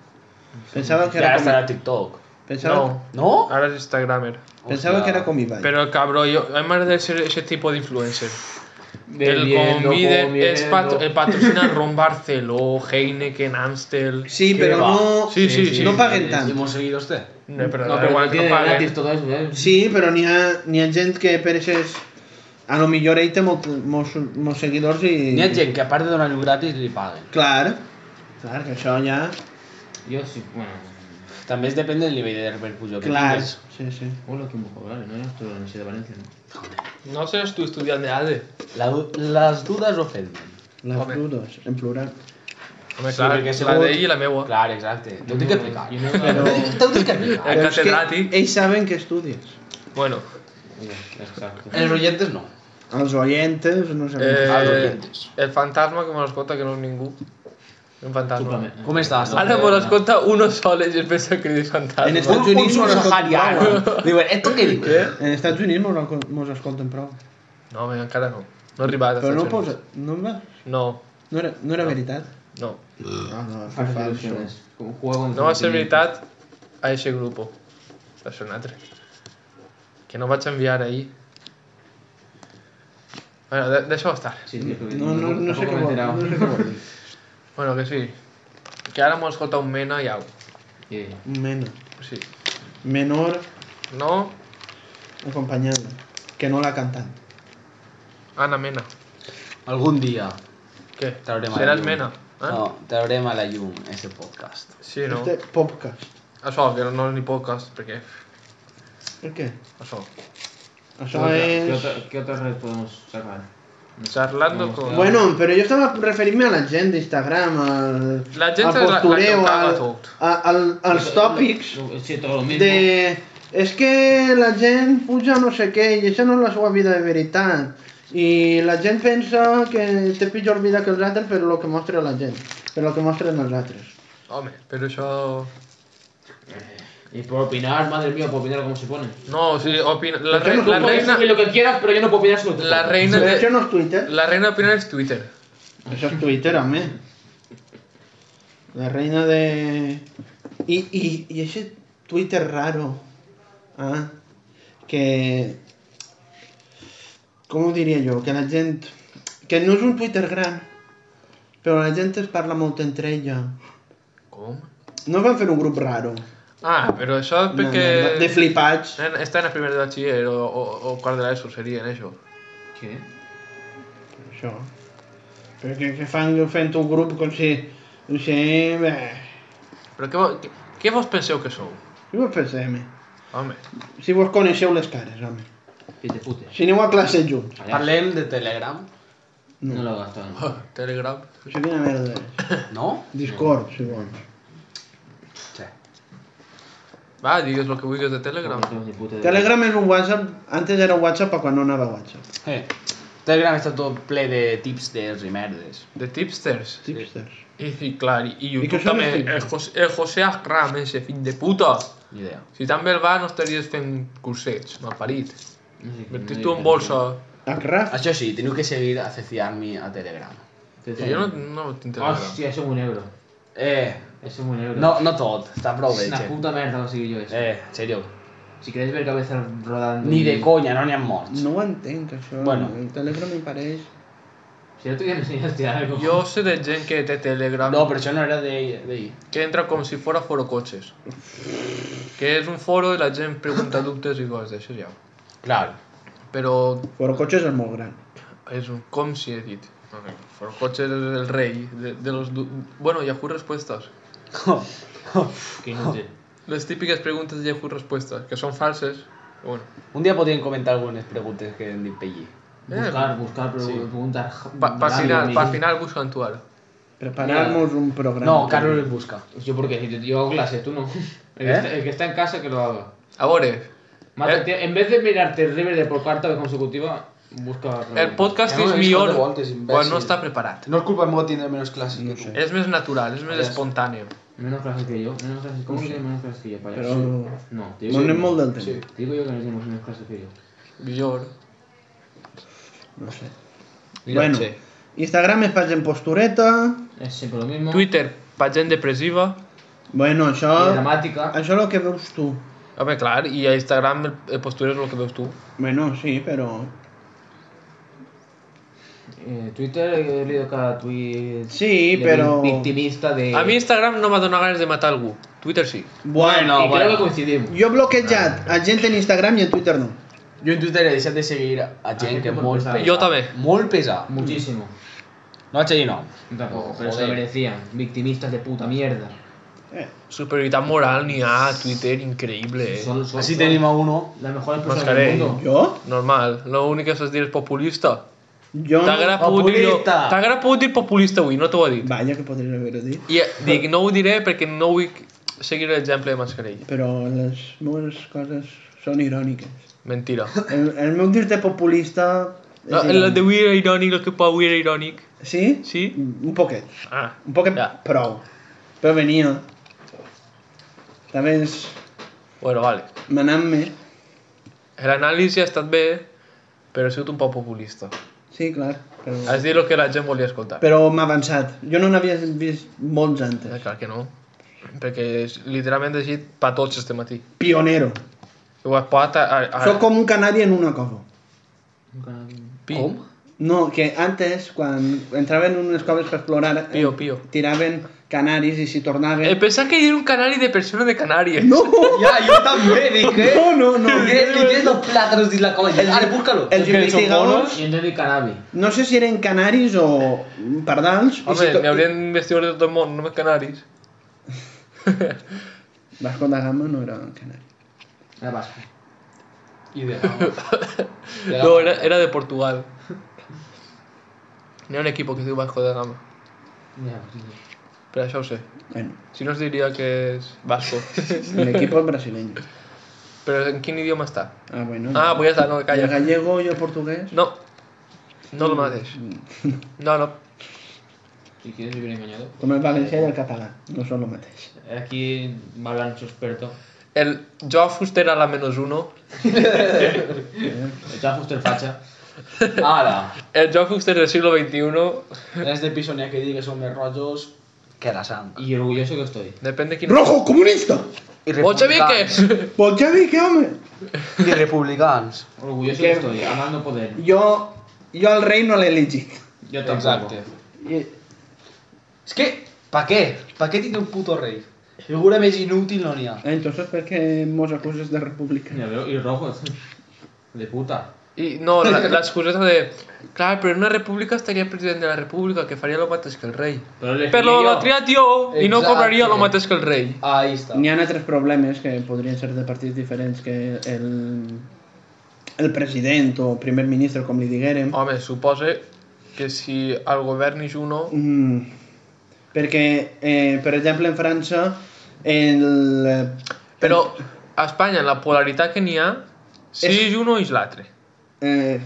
A: Pensava que
C: Que ara
A: era com...
C: estarà a TikTok.
A: Pensava,
D: No,
C: No?
D: ara és Instagramer.
A: pensava
C: Hòstia.
A: que era com Ibai.
D: Però, cabró, jo, a mi m'agrada ser aquest tipus d'influencer. El
B: Bebiendo,
D: conviden, es
B: comiendo.
D: pat eh, el patrocina Ron Barceló, Heineken, Amstel...
A: Sí,
C: Què
A: però
C: va?
A: no...
D: Sí, sí, sí.
A: No paguen
B: sí,
A: tant.
C: I mos seguido este?
D: No, però,
B: No, pero
D: igual
B: igual
D: que no
B: tiene gratis
D: paguen.
B: todo eso, ¿eh?
A: Sí, però n'hi ha, n'hi ha gent que per aquestes... A lo millor ell té molt, molts, molts seguidors i...
C: N'hi ha gent que a part de donar-ho gratis li paguen.
A: Clar. Clar, que això ja...
B: Yo sí, bueno.
C: També es depèn del nivell de repercussió que
A: Clar.
C: tinguis.
A: Sí, sí.
B: Hola, que un poco, ¿vale? No era esto de la Universidad de Valencia, ¿no?
D: No seràs tu estudiant d'ADE.
C: La, les dudes ofenden.
A: Les
D: Home.
A: dudes, en plural.
D: Home,
C: Sí,
D: clar,
C: perquè
D: la
C: segur-
D: d'ell i la meua.
C: Clar, exacte. T'ho tinc que explicar.
B: Yo no pero...
C: T'ho tinc que explicar.
D: El
A: Però és que
D: catedràtic.
A: Ells saben que estudies.
D: Bueno,
B: Exacto.
C: Els oyentes no.
A: Els oyentes no saben.
C: Als
D: eh,
C: oyentes.
D: el fantasma que mos conta que no és ningú. Un fantasma.
C: Com estàs?
D: Ara mos conta uno soles i es pensa que li dius
A: En este?
D: fantasma.
A: Estats
C: Un, un
A: Units mos escolten prou.
C: subsahariano. Diuen, esto què diu?
A: En Estats Units mos, escol- mos escolten prou.
D: No, home, encara no. No he arribat a
A: Però no
D: Estats
A: posa...
D: Units.
A: No, va.
D: No,
A: no era, no era veritat.
D: no. Ah,
A: No, no,
B: Falsas ilusiones. Un juego
D: No va ser veritat a aquest grup. Va ser un altre. Que no vaig enviar ahir. Bueno, de deixa-ho estar.
B: Sí, tío, porque
A: No, no, no sé
B: tampoco
A: qué
B: me he
A: vol-
B: enterado.
A: no sé qué
B: *laughs*
A: vol.
D: Bueno, que sí. Que ara m'ho escolta un mena i au.
B: Sí.
A: Menor.
D: Sí.
A: Menor
D: No,
A: acompañada. Que no la cantan.
D: Anna Mena.
C: Algun dia
D: Què?
C: traurem a la
D: Seràs
C: llum.
D: Mena? Eh?
C: No, traurem a la llum ese podcast.
D: Sí, no?
A: Este podcast.
D: Això, que no és ni podcast, perquè...
A: Per què?
D: Això.
A: Això
B: ¿Qué,
A: és...
B: otra, ¿Qué otra red podemos sacar?
D: Charlando con...
A: Bueno, però jo estava referint-me a la gent d'Instagram, al,
D: La gent
A: al
D: és la- la que
A: postureu,
D: acaba
A: al,
D: tot.
A: a, al, als tòpics
B: Sí, todo lo mismo.
A: de... És que la gent puja no sé què i això no és la seva vida de veritat. I la gent pensa que té pitjor vida que els altres per lo que mostra la gent, per lo que mostren els altres.
D: Home, però això...
B: Y por opinar, madre mía, por opinar cómo se pone.
D: No, o sigui, opina... la,
A: Perquè
D: rei-
A: no
D: la
A: puc
D: reina...
B: lo que quieras, pero yo no puedo opinar sobre
D: La reina
A: Però això
D: de...
A: no és Twitter.
D: La reina d'opinar és Twitter.
A: Això és Twitter, home. La reina de... I, i, i aquest Twitter raro. Ah, que... Com ho diria jo? Que la gent... Que no és un Twitter gran, però la gent es parla molt entre ella.
D: Com?
A: No van fer un grup raro.
D: Ah, però això és perquè...
A: No, no, de flipats.
D: Nen, Està en el primer de batxiller o, o, o quart de l'ESO, serien això.
B: ¿Qué?
A: Això. Perquè que fan fent un grup com si... No sé... Bé.
D: Però què, vo- què, què vos penseu que sou?
A: Si vos pensem,
D: Home,
A: si vos coneixeu les cares, home.
B: Que te putes.
A: Si aneu a classe junts.
B: Allá.
C: Parlem de Telegram,
B: No lo hagas tan.
D: *laughs* Telegram...
A: Això quina merda és.
C: no?
A: Discord, si vols.
C: Sí.
D: Va, digues el que vulguis de
B: No
D: Telegram.
B: tengo ni puta idea.
A: Telegram és un WhatsApp, antes era WhatsApp però quan no anava a WhatsApp.
C: Eh, Telegram està tot ple de tipsters i merdes.
D: De tipsters.
A: Tipsters.
D: I, i clar, i, i YouTube
A: què són
D: també.
A: els
D: El
A: tipsters?
D: José, el José Akram, ese fill de puta.
C: Ni idea.
D: Si també el va, no estaries fent cursets, malparit.
B: No sé,
D: Invertir
B: no
D: tu
B: digas
D: en bolsa.
A: Acraf.
C: Això sí, teniu que seguir associant-me a Telegram.
B: que-
D: I jo no, no tinc Telegram.
B: Hostia, eso Ah, es un euro.
C: Eh,
B: Eso es un euro.
C: no, no tot, està prou
B: Es
C: bé,
B: una
C: gent.
B: puta mierda conseguir yo eso.
C: Eh, en serio.
B: Si queréis ver cabezas rodando.
C: Ni
B: y-
C: de conya, no n'hi ha morts.
A: No ho entenc, això.
C: Bueno.
A: El Telegram em pareix...
B: Si no te quieres enseñaste algo.
D: Jo sé de gent que té Telegram
C: No, però això no era d'ell. d'ell.
D: que entra com si fora foro cotxes. Que és un foro i la gent pregunta dubtes i coses d'això ja.
C: Clar.
D: Però
A: Foro cotxes és molt gran.
D: és un com si he dit. No sé, Foro cotxes és el rei de, de los... du- Bueno, Yahoo Respuestas.
B: *laughs* Que inútil.
D: Eh. Les típiques preguntes de Yahoo Respuestas, que són falses. Però bueno,
C: Un dia podríem comentar algunes preguntes que hem dit per allí.
D: Eh,
B: Buscar, buscar, pero preguntar.
D: pa, pa
B: raro,
D: final, pa
B: ni-
D: final busquen tu ara.
A: Preparar-nos un programa.
C: No, Carlos les busca.
B: Yo porque si te- yo hago clases, tú no. *laughs* El, que
C: ¿Eh?
B: está, el que está en casa que lo haga.
D: A veure,
B: Mátate- en vez de mirarte el River de por cuarta vez consecutiva, busca.
D: el podcast
C: Ja no
D: és
C: l'he vist
D: millor
C: quatre voltes, imbècil.
D: quan no està preparat.
C: No és culpa meva tindre menys classes que tu.
D: És més natural, és més espontani.
B: Menos clases que yo. Menos clases. ¿Cómo que tienes menos clases que yo, payaso?
A: Però...
B: No, te digo,
A: No anem
B: yo,
A: molt del temps.
C: Sí.
B: te digo yo que no tenemos menos clases que yo.
D: Millor.
A: No sé.
D: Mira,
A: bueno,
D: sí.
A: Instagram és per gent postureta.
B: Es siempre lo mismo.
D: Twitter, pa gent depressiva.
A: Bueno, això...
B: Y eh, dramática.
A: Això és el que veus tu.
D: Home, clar, i a Instagram el, el postura és el que veus tu.
A: Bueno, sí, però...
B: Eh, Twitter he leído cada tweet.
A: Sí,
B: de
A: pero-
B: Victimista de.
D: A mi Instagram no m'ha donat ganes de matar algú. Twitter sí.
A: Bueno,
B: Y creo
C: bueno.
B: que coincidimos.
A: jo he bloquejat a gent en Instagram i en Twitter no.
C: Jo en Twitter he deixat de seguir a gent
B: Ah,
C: que
B: que
C: és molt
B: pesada.
C: pesada.
D: Jo també.
C: Molt pesada.
B: Muchísimo.
C: No vaig seguir nom.
B: Tampoco,
C: Oh,
B: pero se lo
C: joder.
B: merecían. Victimistas de puta mierda.
A: Eh.
D: Superioritat moral n'hi ha a Twitter, increïble, eh?
B: Son, son,
C: Així
B: son
C: tenim a uno.
B: Las mejores personas
D: Mascarell.
B: del mundo.
A: Jo?
D: Normal, l'únic que saps dir és populista.
A: Jo
D: T'haguera
A: no...
D: pogut, dir,
C: Populista.
D: t'haguera pogut dir populista avui, no t'ho ha dit.
A: Vaja, que podria haver-ho dit.
D: I dic, no ho diré perquè no vull seguir l'exemple de Mascarell.
A: Però les meves coses són iròniques.
D: Mentira.
A: El, el meu dir de populista... és
D: La, la
A: irònic.
D: de avui era irònic, el que pa avui era irònic.
A: Sí?
D: Sí?
A: Un poquet.
D: Ah.
A: Un poquet
D: Ja.
A: prou. Però venia. També és
D: Bueno, vale.
A: manant-me.
D: L'anàlisi ha estat bé, però ha sigut un poc populista.
A: Sí, clar. Però,
D: Has dit el que la gent volia escoltar.
A: però m'ha avançat. Jo no n'havia vist molts
D: Eh,
A: antes.
D: clar que no. Perquè és literalment he llegit pa tots este matí.
A: Pionero.
D: Ho has posat a... a, a...
A: Sóc com un canari en una cova.
B: Nunca-
D: Pi.
C: Com?
A: No, que antes, quan entraven unes coves per explorar, eh,
D: Pío, pío.
A: tiraven canaris i si tornaven...
D: Eh, pensava que era un canari de persona de Canàries.
A: No!
C: Ja, jo també, dic,
A: No, no,
D: *laughs*
A: no.
C: que tens los plàtanos dins la colla. Ara, búscalo.
A: Els investigadors,
B: Y entendí cannabis.
A: no sé si eren canaris o pardals. i
D: Home,
A: si to-
D: n'hi haurien investigadors de tot el món, només canaris.
A: Vasco da Gama no era canari.
B: La vasca.
C: Y de
B: *laughs*
C: Ramos.
D: No,
C: De Ramos.
D: era, era de Portugal. N'hi ha un equip que es diu Vasco de Gama.
B: Ja, pues, sí.
D: Per això ho sé.
A: Bueno,
D: Si no es diria que és vasco.
A: el equipo es brasileño.
D: Però en quin idioma està?
A: Ah, bueno.
D: Ah, pues ja està, no,
A: El
D: calla.
A: gallego y el portugués.
D: No. No el mateix. No, no.
B: Si quieres vivir engañado.
A: Con el valenciano y el catalán. No son los matéis.
B: Aquí va a hablar su experto.
D: El Joao Fuster a la menos uno.
B: Está justo el facha.
C: Ara,
D: El Joao Fuster del siglo XXI.
C: en este piso n'hi ha que dir que som més rojos que la santa.
B: Y orgulloso que estoy.
D: Depèn de quin...
A: ¡Rojo comunista!
C: I
D: ¡Bolcheviques! *laughs*
A: ¿Por qué vi que, hombre?
C: I republicans.
B: Orgulloso
A: ¿Qué?
B: que estoy. Amando poder.
A: Yo, yo al rey no le elegí.
B: Yo tampoco.
C: Exacte.
A: Y-
C: És que, pa què? Pa què tindre un puto rei? Figura més inútil no n'hi ha.
A: Entonces, ¿por qué nos acusas de republicano?
B: Ya veo. Y rojos. De puta.
D: I no, la, la excuseta de... Clar, però en una república estaria el president de la república, que faria el mateix que el rei.
B: Pero le
D: Però l'ha
B: triada.
D: triat jo i no
C: Exacte.
D: cobraria el mateix que el rei.
C: Ah, Ahí està.
A: Ni han tres problemas que podrían ser de partidos diferentes que el, el presidente o primer ministro, como le digueren.
D: Home, suposa que si el govern és uno...
A: Mm, perquè, eh, per exemple, en França, el...
D: Però a Espanya, la polaritat que n'hi ha, si
A: És-
D: és un o és l'altre.
A: Eh,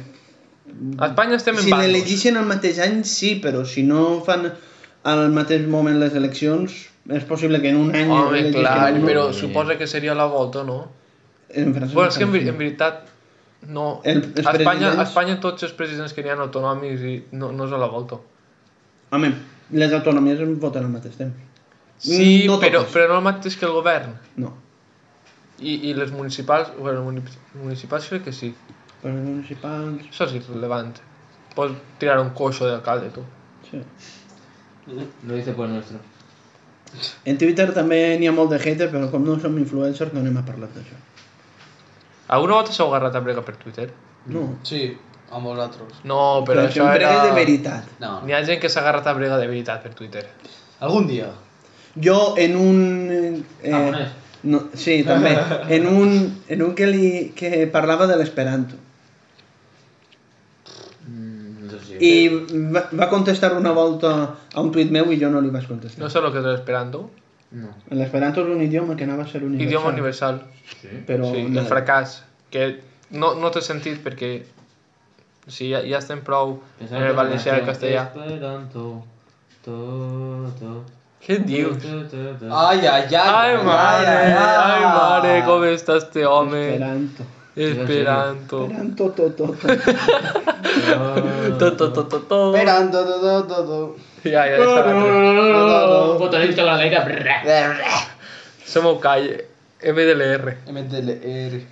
D: A Espanya estem en
A: si
D: bandos.
A: l'elegissin el mateix any, sí, però si no fan al mateix moment les eleccions, és possible que en un any...
D: Home,
A: l'elegisquen
D: clar,
A: a un.
D: però suposa que seria la volta, no?
A: En França...
D: Bueno, és que en,
A: fan
D: ver- en
A: així.
D: veritat no.
A: El- els
D: a, Espanya, a
A: presidents-
D: Espanya tots els presidents que n'hi ha autonòmics i no, no és a la volta.
A: Mm, Home, les autonomies voten al mateix temps.
D: Sí,
A: no
D: però,
A: totes.
D: però no el mateix que el govern.
A: No.
D: I, i les municipals, bueno, muni- municipals crec que sí.
A: Però els municipals...
D: Això és irrelevant. Pots tirar un coixo d'alcalde, tu.
A: Sí.
B: Lo dice por nuestro.
A: En Twitter també n'hi ha molt de hater, però com no som influencers no n'hem parlat d'això.
D: Alguna volta s'ha agarrat a brega per Twitter?
A: No,
C: Sí, amb vosaltres.
D: No, però,
A: això
D: això
A: sempre
D: era...
A: és de veritat.
C: No,
D: N'hi ha gent que s'ha agarrat a brega de veritat per Twitter.
C: Algun dia.
A: Jo en un... eh,
B: Japonès.
A: no, sí, també. En un, en un que, li, que parlava de l'esperanto.
B: Mm, no sé si.
A: I va, va contestar una volta a un tuit meu i jo no li vaig contestar.
D: No sé lo que estàs esperando.
B: No.
A: L'esperanto és un idioma que anava a ser universal.
D: Idioma universal.
B: Sí.
A: Però
D: Sí,
A: no.
D: el fracàs, que no, no té sentit perquè si ja, ja estem prou
B: Eh,
D: en el valencià i el castellà.
B: Esperanto. To, to.
D: Què em dius?
B: To, to, to.
C: Ai, ai, ai.
D: Ai, mare, ai, mare, com està este home?
A: Esperanto.
D: Esperanto.
A: Esperanto, to, to, to.
D: Tot, tot, tot, tot, tot.
C: Esperant, do, do, do, do, do.
D: Ja, ja, ja està l'altre.
B: Un botonet que la gaire. brrra.
D: Se m'ho calla. MDLR.
C: MDLR.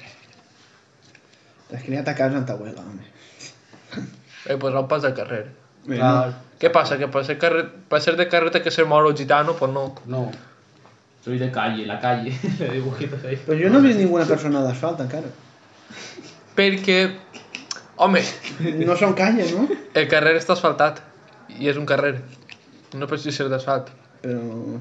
A: T'has criat a casa en ta abuela, home.
D: He posat un pues em pas al carrer.
A: Bueno,
C: Clar,
D: Què passa? Que per ser, carrer, per ser de carrer té que ser moro gitano, però no.
C: no.
B: Soy de calle, la calle. *laughs* De dibujitos ahí.
A: però jo no he vist ninguna persona d'asfalt, encara.
D: Perquè, home,
A: No són calles, no?
D: el carrer està asfaltat. I és un carrer. No precisa ser d'asfalt.
A: Però...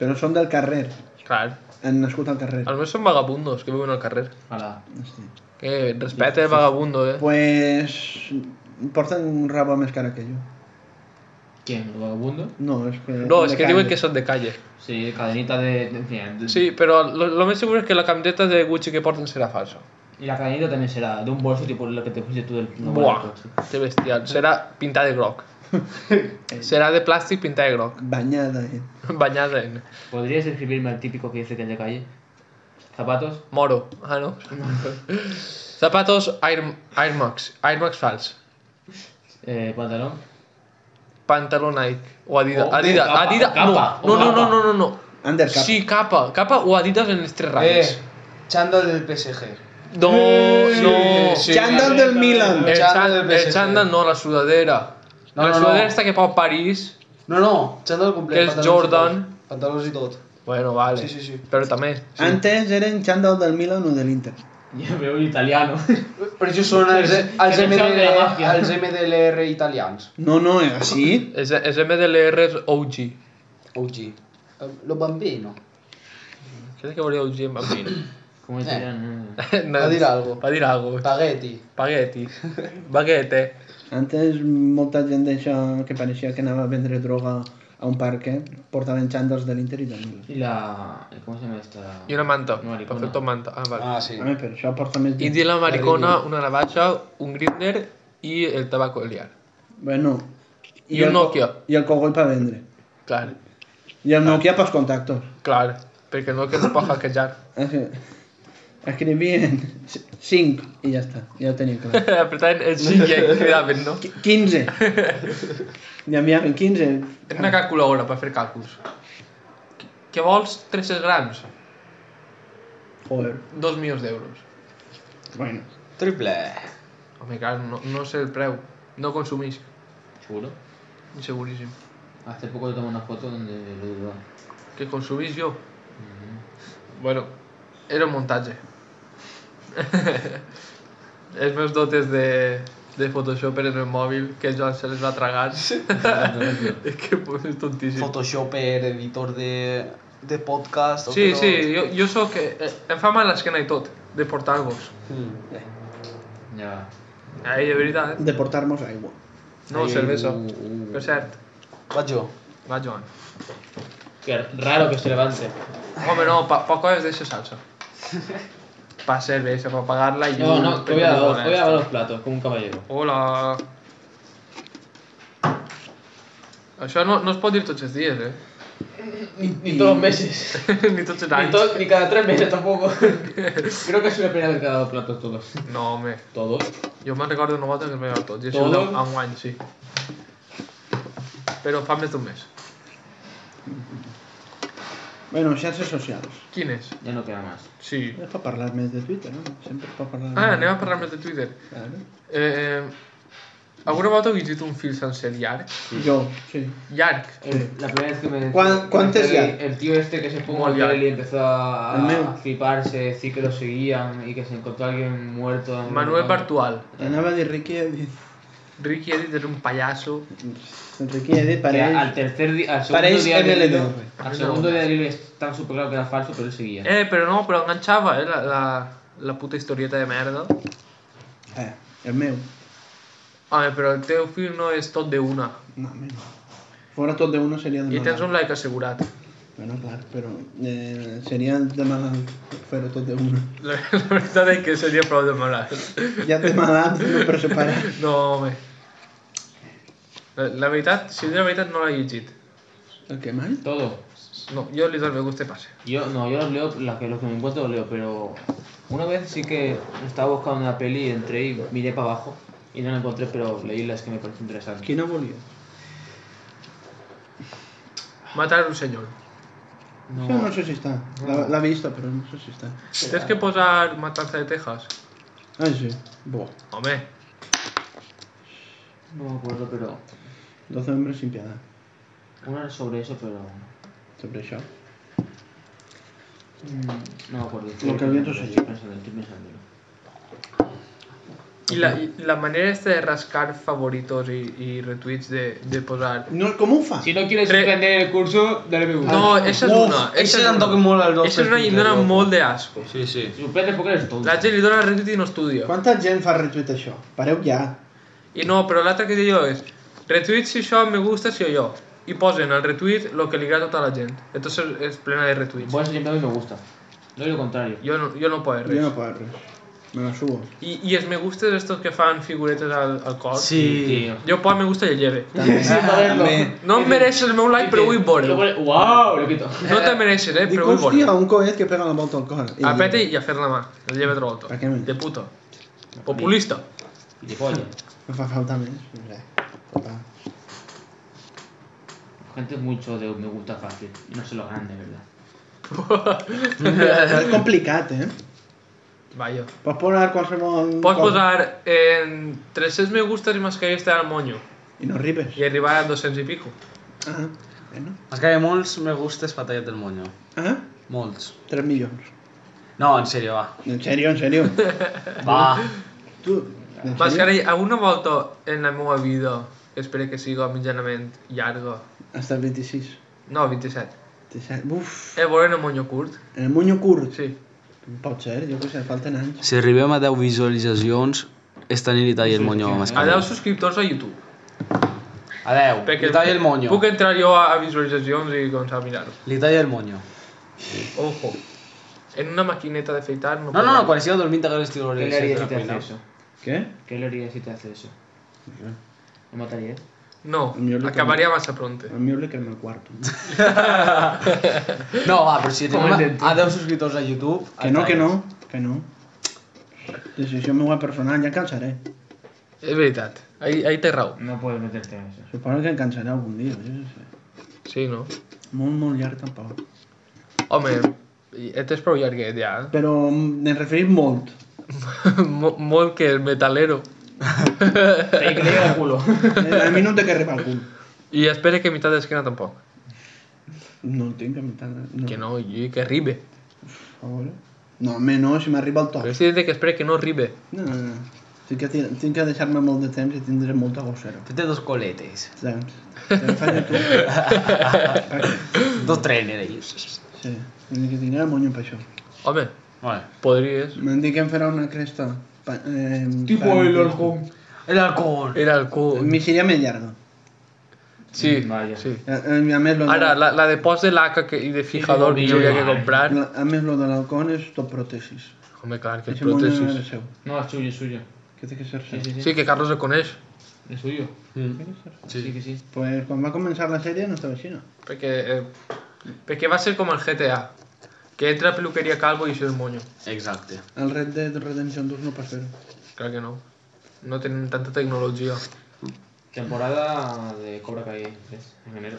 A: Però són del carrer.
D: Clar.
A: Han nascut al carrer.
D: Almenys són vagabundos que viuen al carrer.
B: Ojalá.
A: Hòstia.
D: Que respeta el vagabundo, eh?
A: Pues porten un rabo més cara que jo.
B: ¿Quién? ¿El vagabundo?
A: No, és que...
D: No, és que diuen que
A: és...
D: són de calle.
B: Sí, cadenita de. En fin, de-
D: Sí, però lo, lo més segur és que la camiseta de Gucci que porten serà falsa.
B: Y la cadenita también será de un bolso tipo lo que te pusiste tú del no,
D: Buah,
B: del coche.
D: que bestial. Serà pintada de *laughs* groc. Serà de plàstic pintada de groc. *laughs*
A: Banyada, eh?
D: Banyada en
B: ¿Podrías describirme al típico que dice que es de calle? ¿Zapatos?
D: moro. Ah, no. Zapatos Air, Air Max. Air Max fals.
B: Eh, ¿Pantalón? *laughs*
D: Pantaló Nike. O Adidas.
B: Oh,
D: Adidas.
B: capa,
D: Adidas.
B: capa,
D: no,
B: oh,
D: no, no,
B: capa.
D: no, no, no.
A: Undercap.
D: Sí, capa. Capa o Adidas en les tres ratlles.
C: Eh, xandall del PSG.
D: No, no.
C: sí.
A: Xandall del Milan.
D: El,
C: El chándal
D: chándal-
C: del
D: el
C: PSG.
D: chándal no, la sudadera.
C: No,
D: la
C: no, no.
D: sudadera esta que fa París.
C: No, no, xandall complet.
D: Que és
C: pantalons i tot.
D: Jordan.
C: Pantalons i tot.
D: Bueno, vale.
C: Sí, sí, sí.
D: Però també.
A: Antes eren xandall del Milan o de l'Inter.
B: Ya veo un italiano. *laughs*
C: Però això són els, els,
B: Que no saben de
C: MDL,
B: la màfia.
C: els MDLR italians.
A: No, no, eh, així.
D: És, és MDLR és OG.
C: OG. Eh, Lo bambino. *laughs*
D: Crec que volia OG en bambino.
B: Como te
C: Eh.
B: dirán, eh,
D: Va
C: dir algo.
D: Va dir algo.
C: Spaghetti.
D: Spaghetti. Baguette.
A: Antes molta gent d'això que pareixia que anava a vendre droga a un parque portaven xandals de l'Inter i del Milan.
B: Y la. eh, ¿Cómo se llama esta?
D: I una manta.
B: Maricona.
D: Perfecto, manta. Ah, vale.
C: Ah, sí.
A: Home, per això porta més
D: Y
A: gent.
D: di la maricona, una navaja, un grinder y el tabaco liar.
A: Bueno,
D: I un
A: el co-
D: Nokia.
A: I el cogoll per vendre.
D: Claro,
A: I
D: Ah.
A: el Nokia pels contactos.
D: claro. Porque no que no puedo *laughs* hackear.
A: Així- Escrivien 5 i ja està, ja ho tenim clar.
D: Apretar el sí que quedaven, no?
A: Qui- 15. N'hi havia 15.
D: Tens una calculadora per fer càlculs. Que vols 300 grams?
A: Joder.
D: 2 milions d'euros.
A: Bueno.
C: Triple. E.
D: Home, clar, no, no sé el preu. No consumís.
B: Seguro.
D: Seguríssim.
B: Hace poco le tomé una foto donde lo dudaba.
D: Que consumís jo? Bueno, era un *laughs* muntatge. Els meus dotes de, de Photoshop eren el mòbil, que el Joan se les va tragar. *laughs* és que pues, és tontíssim.
C: Photoshopper, editor de, de podcast.
D: Sí,
C: otro-
D: sí, jo, jo sóc... Eh, em fa mal l'esquena i tot, de portar-vos.
C: Mm. Eh.
B: Ya.
D: Ai, de veritat, eh?
A: De portar-nos aigua.
D: No,
B: Ahí,
D: cervesa.
B: uh, uh.
D: Per cert,
C: Vaig jo.
D: va, Joan.
B: Qué raro que se levante.
D: Home, no, pa, poco es de esa salsa. Pa cerveza, pa pagarla y...
B: No,
D: un
B: no, te voy a
D: pequeño
B: dar voy a
D: monesto.
B: lavar los platos como un caballero.
D: Hola. Això no, no es pot dir tots els dies, eh? *laughs*
B: Ni, todos los meses.
D: Ni tots els
B: Ni,
D: anys.
B: to- *laughs* ni cada tres meses tampoco. *laughs* Creo que es una pena que te ha dado platos todos.
D: No, home.
B: ¿Todos?
D: Jo me'n recordo una volta que els vaig veure tots. I això
B: Todo?
D: en un any, sí. Però fa més d'un mes.
A: Bueno, xarxes socials.
D: Quin és?
B: Ya no queda más.
D: Sí.
A: Ja pot parlar més de Twitter, no? Sempre pot parlar...
D: Ah, anem a parlar més de Twitter.
A: Claro.
D: Eh, alguna volta heu llegit un fil sencer llarg?
A: Jo, sí.
D: Llarg.
B: El- Eh, la primera vez que me.
A: ¿Cuán- cuántos ya?
B: el, el tío este que se fumó el
D: Mundial.
B: Yoli empezó a,
A: El meu.
B: a fliparse, decir que lo seguían y que se encontró alguien muerto. en-
D: Manuel Bartual.
A: Anava a dir Ricky Edith.
D: Ricky Edit era un payasso.
A: Ricky Edith
B: Que
A: pareix...
B: al tercer di- al segundo
A: Parece
B: día de
A: MLD.
B: hilo, al segundo día de hilo estaba súper claro que era falso, pero él seguía.
D: Eh, però no, però enganxava, eh, la, la, la puta historieta de merda.
A: Eh, el meu.
D: Home, però el teu fill no és tot de una.
A: No, home, no. Fora tot d'una seria de
D: I tens un like assegurat.
A: Bueno, clar, però eh, seria de malalt fer-ho tot d'una.
D: *laughs* La, la veritat és que seria prou de malalt.
A: Ja té malalt, no per separar.
D: No, home. La, la veritat, si de la veritat no l'ha llegit.
A: El que mai?
B: Todo.
D: No, jo li dono el me gusta i passa.
B: Yo, no, yo los leo, las que, los que me encuentro los leo, pero una vez sí que estaba buscando una peli, entré y miré para abajo y no la encontré, pero leí las que me parecen interesantes.
A: Quina volia?
D: Matar un senyor.
A: No. Això no sé si està. La- L'ha vista, però no sé si està.
D: Tens que posar Matanza de Texas?
A: Ah, sí. Bo.
D: Home,
B: No me acuerdo, pero
A: 12 hombres sin piedad.
B: una era sobre eso, pero
A: Sobre això.
B: mm, no me acuerdo.
A: Lo que el viento se
B: estoy
A: lleva.
B: pensando, estoy pensándolo.
D: i la, i la manera esta de rascar favoritos i, i retuits de, de
C: Ah,
D: posar...
A: No, com ho fa?
B: Si no quieres
D: Re-
B: suspender el curso, dale me gusta.
D: No, esa és
C: Uf,
D: una.
C: eixa
D: Esa és
C: em toca
D: una.
C: molt el
D: Esa és una i em dona molt d'asco.
C: Sí, sí.
B: Suspende porque eres tonto.
D: La gent li dona retuit i no estudia.
A: Quanta gent fa retuit això? Pareu ja.
D: I no, però l'altre que diu és retuit si això me gusta si o jo. I posen al retuit lo que li agrada a tota la gent. Entonces és plena de retuits.
B: Por eso siempre a mí me gusta. No es lo contrario.
D: Jo no, jo no puedo res.
A: Jo no puc res. Me la subo.
D: I, I els me gustes estos que fan figuretes al, al cor.
C: Sí.
D: Jo puc me gusta i el lleve.
A: També.
B: Sí, para verlo.
A: també.
D: No em mereixes el meu like, però vull
B: Lo
D: veure
B: pone- ¡Wow! Lo quito.
D: No te mereixes, eh,
A: Dic,
D: però vull
A: hòstia,
D: veure
A: un coet que pega la volta al cor.
D: A pete i a fer la mà. El lleve troto.
A: Per què no?
D: De puto. Populista.
B: Gilipollas.
A: No fa falta més. Res. Total.
B: Gente mucho de me gusta fácil. Y no sé lo grande, ¿verdad?
A: És complicat, eh?
D: Vaja.
A: Pots posar qualsevol...
D: Pots
A: cosa
D: posar eh, en 300 me gustes i mascarilla estar al monyo.
A: I no arribes.
D: I arribar a 200 i pico.
A: Ah, bueno.
C: És que hi ha molts me gustes per tallat del monyo.
A: Ah,
C: Molts.
A: 3 milions.
C: No, en sèrio, va.
A: En serio, en serio. *laughs*
C: Va.
A: tu, en serio?
D: Mascarilla, alguna volta en la meva vida, espero que siga mitjanament llarga,
A: Hasta el 26.
D: no, Eh, 27,
A: 27. Uf.
D: he veure el monyo curt,
A: En el moño curt.
D: sí.
A: Pot ser, jo què sé, falten anys.
E: Si arribem a 10 visualitzacions, esta nit li talla el monyo a
C: Ah.
D: A
E: Mascarell.
D: 10 subscriptors a YouTube.
C: Adeu,
D: Perquè
C: li talla el monyo.
D: Puc entrar jo a, a visualitzacions i doncs a mirar-ho.
C: Li talla el monyo.
D: Ojo. En una maquineta de afeitar no
C: No, no,
D: podrà.
C: no, quan siga dormint t'agrada el tiro
B: ¿Qué le harías si te hace eso?
A: Què?
B: ¿Qué le harías si te hace eso? ¿eh? ¿Lo matarías?
A: Yo
D: No,
A: lo
D: acabaría más a pronto.
A: A mi ho en el quarto.
C: No, va, però si
B: Com
C: tenim
B: el
C: a, a 10 subscriptors a YouTube...
A: Que no, que no, que no. Decisió meva personal, ja em cansaré.
D: És veritat. Ahí, ahí té raó.
B: No puedes meterte en eso.
A: Suposo que em cansaré algun dia, jo què sé.
D: Sí, no?
A: Molt, molt llarg tampoc.
D: Home, et és prou llarguet ja. eh?
A: Però m'he referit molt.
D: *laughs* Mo- Molt que el metalero.
B: *laughs* Te que le llega al culo.
A: Eh, A mi no em té que arribar al cul.
D: I espera que meitat d'esquena tampoc.
A: No el tinc a mi tant. eh. No.
D: Que no, i que arribe.
A: A veure. No, home, no, si m'arriba
C: Oh.
A: el
D: Però
A: toc.
D: és evident que espera que no arribe.
A: No, no, no. Tinc que, tir- tinc que deixar-me molt de temps i tindré molta gossera.
C: Té dos coletes.
A: Doncs, te'n faré tu.
C: Dos trenes ahí.
A: Sí, vull dir que tindré el monyo per això.
D: Home,
C: Vale.
D: podries.
A: M'han dit que em farà una cresta. Pa, eh,
C: El alcohol.
D: Era el cul.
A: Mi seria més llarga.
D: Sí,
B: Vaya.
D: sí.
A: A, a, a més, lo
D: Ara,
A: de,
D: la, la de post de laca que, i de fijador que jo havia que comprar...
A: la, a més, lo de l'alcohol és tot pròtesis.
D: Home, clar, que és
A: Aquest monyo no
D: pròtesis.
A: era seu.
B: No, es suyo, es suyo.
A: Que té que ser
B: Sí,
A: seu.
B: sí, sí.
D: Sí, que Carlos el coneix.
B: Es suyo.
D: Sí.
C: Mm.
B: Sí, que sí.
A: Pues quan va començar la sèrie no estava així, no?
D: Perquè, eh, perquè va ser com el GTA. Que entra a peluqueria calvo i això el moño.
C: Exacte.
A: El Red Dead Redemption 2 no pas fer-ho.
D: Clar que no. No tenen tanta tecnologia.
B: Temporada de Cobra Kai 3, en enero.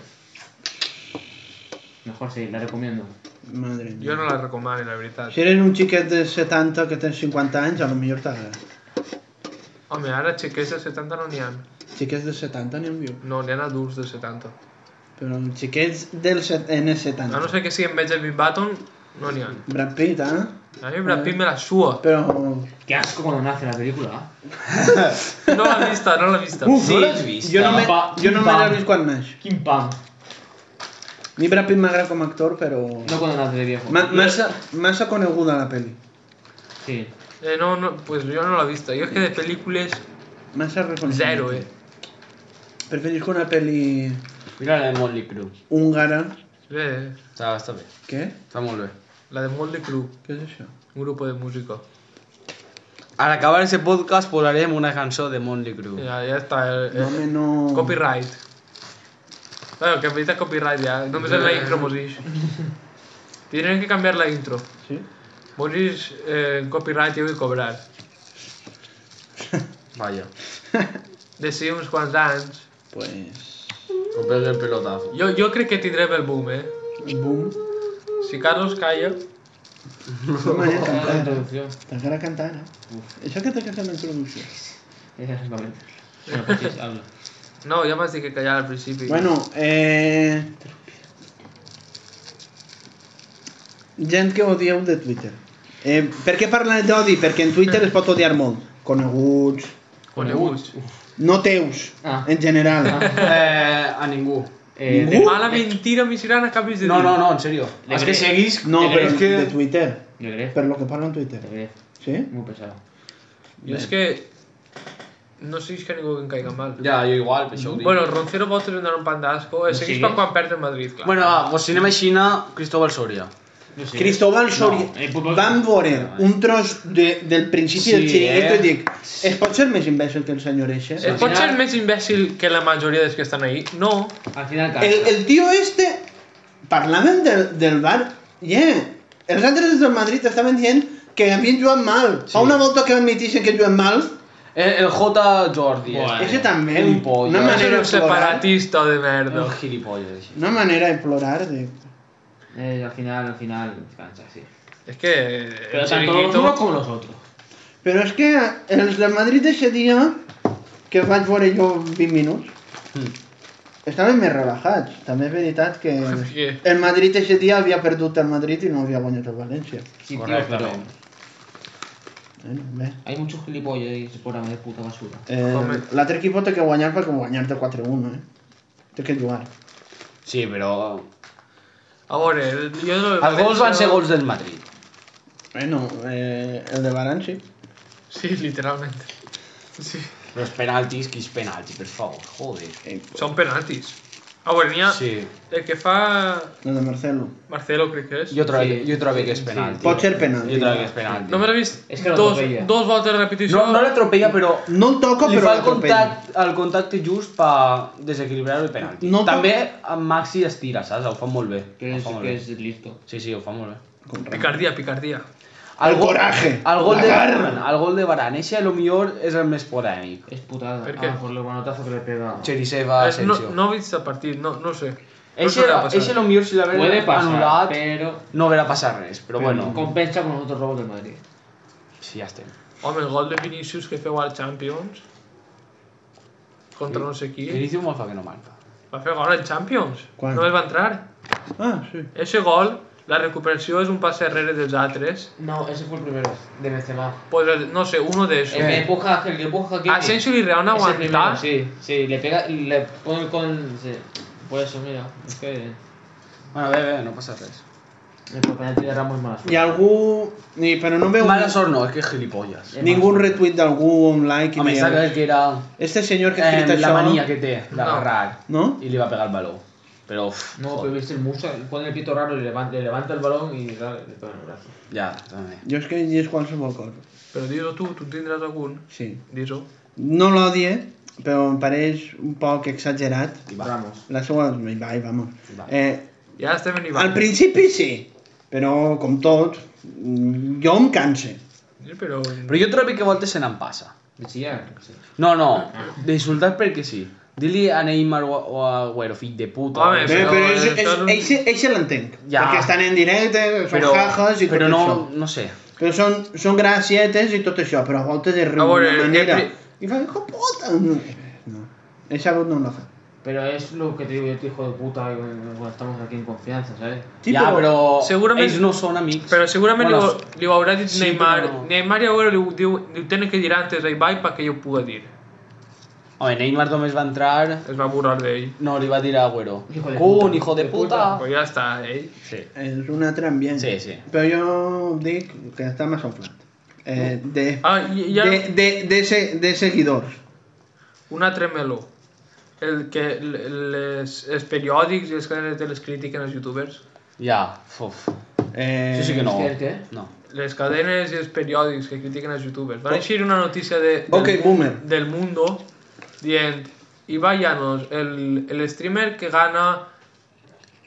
B: Mejor sí, la recomiendo.
A: Madre mia.
D: Jo no la recomano, la veritat.
A: Si eres un xiquet de 70 que tens 50 anys, a lo millor t'agrada.
D: Home, ara xiquets de 70 no n'hi ha.
A: Xiquets de 70 n'hi viu.
D: No, n'hi ha adults de 70.
A: Però xiquets del set... en els
D: A
A: 70.
D: no ser que siguin Benjamin Button, no n'hi ha.
A: Brad Pitt, eh?
D: A mi Brad Pitt me la sua.
A: Però...
B: Qué asco cuando nace la película. ¿eh?
D: No l'ha vista, no l'ha vista.
C: Sí, no l'has vist?
A: Jo no me,
B: Pa-
A: jo no me
B: pa-
A: l'he vist quan naix.
B: Kim Pam.
A: A mi Brad Pitt m'agrada com a actor, però...
B: No cuando nace de viejo.
A: Ma- Massa, massa coneguda la pel·li.
B: Sí.
D: Eh, no, no, pues jo no l'he vista. Jo és que de pel·lícules,
A: Massa reconeguda.
D: zero, eh.
A: Preferisco una pel·li
C: Mira la de Molly Crew.
A: húngara.
D: Eh,
C: Està, està bé.
A: Què?
C: Està molt bé.
D: la de Molly Crew,
A: Què és això?
D: un grup de música.
C: Al acabar ese podcast posarem una cançó de Molly Crew.
D: Ja, ja està, el,
A: No,
D: el,
A: home, no...
D: eh, copyright. Bueno, que en veritat copyright ja, només en la intro mos
A: *laughs*
D: ix. Tindrem que canviar la intro.
A: Sí?
D: Mos ix eh, copyright i vull cobrar.
C: Vaya.
D: D'ací uns quants anys.
A: Pues...
C: Compré el pelotazo.
D: Jo, jo crec que tindrem el boom, eh?
A: Boom.
D: Si Carlos calla,
A: No
D: *laughs*
A: m'agrada
B: Esa es la
A: cantar.
B: introducción.
A: T'agrada cantar, eh? Això que t'ha que fer la introducció.
B: Esa es la mente. Bueno, *laughs* pues sí, habla.
D: no, ja m'has dit que callar al principi.
A: Bueno, eh... Gent que odieu de Twitter. Eh, per què parlen d'odi? Perquè en Twitter es pot odiar molt. Coneguts,
D: Coneguts.
A: no teus,
B: Ah.
A: en general.
C: Eh, a ningú.
B: Eh,
D: De mala mentira miserana que acabis de dir.
C: No, no, no, en serio.
B: Le
C: És
B: crec.
C: que seguís...
A: No,
C: és
A: però
C: que...
A: de Twitter.
B: Yo creo.
A: Per lo que parla en Twitter.
B: Yo creo.
A: Sí?
B: Muy pesado.
D: Jo és que... No sé que ningú que em caiga mal.
C: Ja, jo igual, pues, per això ho dic.
D: Bueno, el Roncero pot donar un pan d'asco. Eh,
B: Sí.
D: seguís per quan perd el Madrid, clar.
C: Pues Bueno, va, pues anem a Xina, Cristóbal Soria.
B: Yo sí.
A: Cristóbal Soria.
B: No, el futbol-
A: Vam veure un tros de, del principi
C: Sí,
A: del xiringuito
C: eh?
A: i dic es pot ser més imbècil que el senyor Eixe?
D: Eh, pot ser més imbècil que la majoria dels que estan ahí? No.
B: Al final
A: El,
B: cansa.
A: el tio este, parlaven del, del bar, yeah. els altres del Madrid estaven dient que havien jugat mal. Fa una volta que admitixen que juguen mal,
C: El, el J. Jordi. eh.
B: Bueno.
A: Ese també,
C: Un pollo.
A: una
D: Ser
A: manera
D: un
A: de plorar.
D: separatista de merda.
C: Un gilipolles.
A: Una manera de plorar, de...
B: Eh, al final, al final cansa, sí.
D: És que... eh,
B: Pero
D: el
B: tanto los
D: chiringuito-
B: unos como los otros.
A: Però és que els del Madrid d'aquest dia, que vaig veure jo 20 minuts,
C: Mm.
A: estaven més relajats. També és veritat que
D: què?
A: el Madrid aquest dia havia perdut el Madrid i no havia guanyat el València.
B: Sí, tío, pero
C: Correctamente.
A: Bueno, bé.
B: hay muchos gilipollas ahí se ponen de puta basura.
A: Eh,
D: Home.
A: L'altre equip té que guanyar perquè guanyar de 4-1, eh? Té que jugar.
C: Sí, però...
D: A veure, el- jo...
C: Els gols van ser gols del Madrid.
A: Bueno, eh, el de Baran sí.
D: Sí, literalmente. Sí.
C: Però els penaltis, quins penaltis, per favor, joder.
A: Eh,
D: Són penaltis. Ah, bueno, n'hi ha...
C: Sí.
D: El que fa
A: El de Marcelo.
D: Marcelo, crec que és.
C: Jo trobo,
B: Sí,
C: jo trobo
B: sí,
C: que és
B: sí.
C: penalti.
A: Pot ser penalti.
C: Jo trobo que és penalti.
D: Només he vist
B: És que no
D: dos,
B: l'atropella.
D: dos voltes de repetició.
C: No, no l'atropella, però
A: No el toca,
C: li
A: però
C: fa el
A: l'atropella.
C: contacte, el contacte just per desequilibrar el penalti.
A: No
C: No,
A: toca-
C: També en Maxi estira, saps? Ho fa molt bé.
B: Que
C: Ho
B: es,
C: fa molt
B: que
C: bé.
B: es listo.
C: Sí, sí, ho fa molt bé.
D: Picardia, picardia.
A: El coraje,
C: El gol
A: la
C: de
A: garra.
C: Baran, el gol de Baran, eixe a lo millor és el més polèmic.
B: Es putada.
D: ¿Por qué?
B: Ah, por lo manotazo que le pega.
C: Cheriseva,
D: És- Eh, no,
C: Asensio.
D: no he vist el partit, no, no ho sé. No
C: Eixe,
D: sé què ha passat.
C: eixe a lo millor si
B: Puede
C: l'haver
B: pasar,
C: anul·lat
B: pero...
C: no haurà passat res, però bueno,
B: Compensa con los otros robos del Madrid.
C: sí, ja estem.
D: Home, el gol de Vinicius que feu al Champions contra no sé qui.
C: Vinicius molt fa que no marca.
D: Va fer gol al Champions.
A: Quan?
D: Només va entrar.
A: Ah, sí.
D: Eixe gol, la recuperació és un passe darrere dels altres.
B: No, ese fue el primero, de Benzema.
D: Pues, el- no sé, uno
B: El que
D: d'ells.
B: empuja a Ángel, Eh, que empuja a Kiki.
D: Asensio i Real han
B: Ese
D: aguantat.
B: primero, Sí, sí, le pega, le pone con... sí. Por eso, mira, es que...
C: Bueno, bé, bé, no passa res.
B: El penalti de Ramos es mala suerte.
A: Hi ha algú... Ni, però no veu
C: Mala sort no, és que és gilipolles.
A: ningú retuit d'algú, un like... i
C: Home,
A: digueu,
C: saca que era
A: Este senyor que ha
C: eh,
A: escrit
C: la
A: això...
C: mania que té d'agarrar
A: No?
C: i li va pegar el baló. Però, uf,
B: No, pero viste el Musa, pone el pito raro, le levanta, le levanta el balón y dale, le pega en el brazo.
C: ja, també.
A: Jo és que hi és qualsevol cosa.
D: Però dis-ho tu, tu en tindràs algun.
A: Sí.
D: Dis-ho.
A: No l'odie, però em pareix un poc exagerat.
C: I va.
B: Ramos.
A: La seva... Vai, vamos.
C: Va.
A: Eh,
D: Ja estem en
A: al
D: Ivan.
A: principi sí, però com tot, mm, jo em canse.
D: Sí, però...
C: Però jo trobo que a voltes se n'en passa.
B: De chillar, sí.
C: No, no, d'insultar perquè sí. Dir-li a Neymar o a, o a Güero, fill de puta.
D: Home,
A: Bé,
D: Però
A: però és, és,
D: això no-
A: eixe, eixe l'entenc.
C: Ja.
A: Perquè estan en directe, són
C: però,
A: jajas i tot
C: però no,
A: això.
C: no sé.
A: Però són, són gracietes i tot això, però a voltes es riu
D: A veure,
A: d'una
D: el
A: manera.
D: que
A: I fa, hijo puta! No, no. he sabut no la fa.
B: Pero es lo que te digo yo, te hijo de puta, cuando estamos aquí en confianza, ¿sabes?
A: Sí,
C: ja, però,
D: segurament-
C: ells no són amics.
D: Però segurament bueno,
C: Bueno,
D: li, ho- li ho haurà dit
C: sí,
D: Neymar.
C: però-
D: Neymar ja veure, li, ho diu, li ho tenen que dir antes a Ibai perquè jo ho puga dir.
C: Home, Neymar només va entrar...
D: Es va burlar d'ell.
C: No, li va dir a Güero.
B: Hijo de
C: Cun,
B: puta.
C: hijo de puta.
D: Pues ja està, ell.
C: Sí,
A: És un altre ambient.
C: sí, sí.
A: Però jo dic que està massa inflat. Eh, de,
D: Ah, i, hi ha
A: de, de, de, se, de seguidors.
D: un altre meló. El que l- les, els periòdics i els cadenes de les critiquen els youtubers.
C: Ja, uf.
A: Eh,
C: Això sí que no.
B: és que- és
C: No.
D: Les cadenes i els periòdics que critiquen els youtubers. Va eixir una notícia de, del,
A: Ok, boomer.
D: del Mundo dient Ibai Llanos, el, el streamer que gana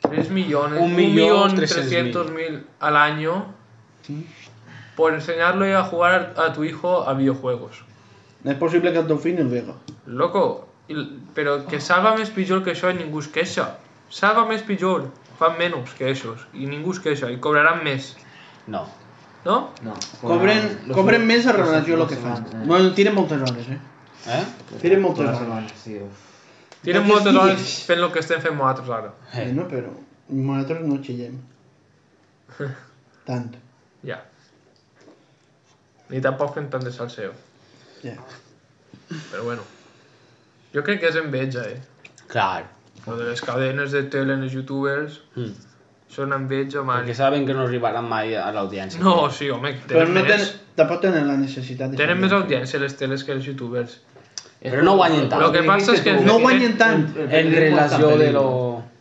D: 3 millones,
C: Un
D: un
C: millón
D: millón
C: trescientos
D: 300 mil al año por enseñarle a jugar a tu hijo a videojuegos.
A: És possible que el teu fill el vega.
D: Loco, il- però que salva més pitjor que això i ningú es queixa. Salva més pitjor, fan menys que això i ningú es queixa i cobraran més,
C: No.
D: no?
B: No.
A: Cobren,
B: los-
A: cobren més a
B: los-
A: relació a
B: los
A: lo que fan.
B: semanas, eh.
A: Bueno, tiren moltes hores, eh?
C: Eh?
A: Tiren moltes
B: Todas las
A: hores.
B: semanas, sí, uf.
D: Tenen
A: No te
D: moltes
A: fies.
D: hores fent el que estem fent nosaltres ara.
C: Eh.
A: Bueno, però nosaltres no xillem. Tant.
D: Ja. Ni tampoc fent tant de salseo. *laughs*
A: Ja.
D: Però bueno. Jo crec que és enveja, eh?
C: Clar.
D: Lo de les cadenes de tele en els youtubers
C: Mm.
D: són enveja mal.
C: Perquè saben que no arribaran mai a l'audiència.
D: No, sí, home,
A: Però
D: tenen,
A: no ten,
D: més,
A: tampoc tenen la necessitat de...
D: tenen
A: fer-ho.
D: més audiència les teles que els youtubers.
B: Es
C: Pero no
B: como-
C: guañen tanto.
B: lo que pasa es que
A: No guanyen tant.
C: En relació de lo...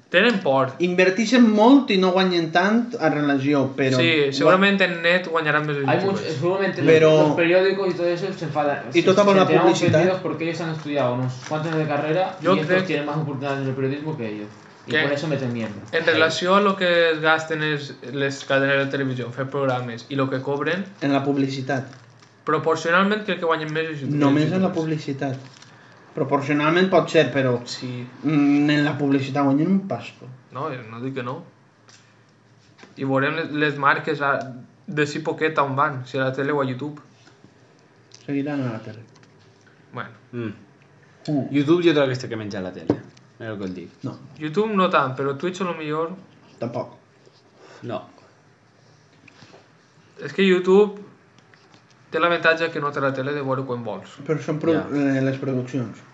D: Tenen por.
A: Invertixen molt i no guanyen tant a relació, però...
D: Sí, segurament en net guanyaran més els
B: Hay muchos,
D: youtubers.
B: seguramente
A: pues. Pero-
B: los, los periódicos y todo eso se enfadan.
A: Y toda por la
B: se enteran
A: publicidad.
B: ofendidos porque ellos han estudiado unos cuantos de carrera
D: Yo
B: y estos
D: creo-
B: tienen más oportunidades en el periodismo que ellos. Y
D: ¿Qué?
B: por eso meten mierda.
D: En relació a lo que es gasten és les cadenes de televisió en fer programes i lo que cobren,
A: En la publicitat.
D: proporcionalment crec que guanyen més els youtubers.
A: Només en la publicitat. Proporcionalment pot ser, però
D: Sí,
A: mm, en la publicitat guanyen un pasto.
D: No, eh, no dic que no. I veurem les, les marques a, de si poquet on van, si a la tele o a YouTube.
A: Seguiran a la tele.
D: Bueno,
C: Mm.
A: Uh,
C: YouTube jo trobo que està que menja la tele. Mira el que et dic.
A: no,
D: YouTube no tant, però Twitch a lo millor...
A: tampoc.
C: No.
D: És que YouTube té l'avantatge que no té la tele de veure quan vols.
A: Però són produ eh, les produccions.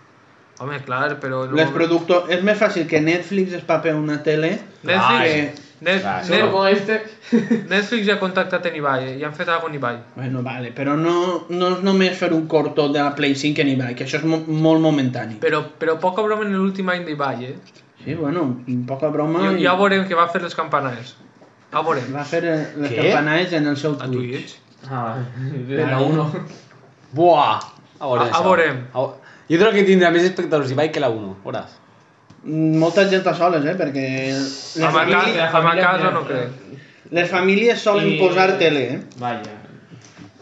D: Home, clar, però... en un
A: Les
D: moment-
A: producto... És més fàcil que Netflix es pape una tele
D: Netflix,
A: que,
D: Net-
C: Ah, sí.
D: Net-
F: Como este.
D: Netflix ja ha contactat en Ibai, eh, ja han fet alguna cosa en Ibai.
A: Bueno, vale, però no, no és només fer un corto de la Play 5 en eBay, que això és mo molt momentani.
D: Però, però poca broma en l'últim any d'Ibai, eh?
A: Sí, bueno, poca broma.
D: Ja,
A: i-
D: ja veurem que va fer les campanares. Ja veurem.
A: Va fer eh, les
C: Què?
A: campanades en el seu
D: A
A: Twitch.
D: Twitch.
B: *laughs* Ah, *laughs* en la 1.
C: Buah! A
D: A-
C: veurem.
D: a
C: això.
D: veurem.
C: A ve- Jo crec que tindrà més espectadors Ibai que la 1, veuràs.
A: Mm, Molta gent a soles, eh? Perquè les,
D: A ma
A: famílies,
B: *laughs*
D: casa, a ma casa no crec.
A: les famílies solen
B: I-
A: posar tele, eh?
B: Vaya.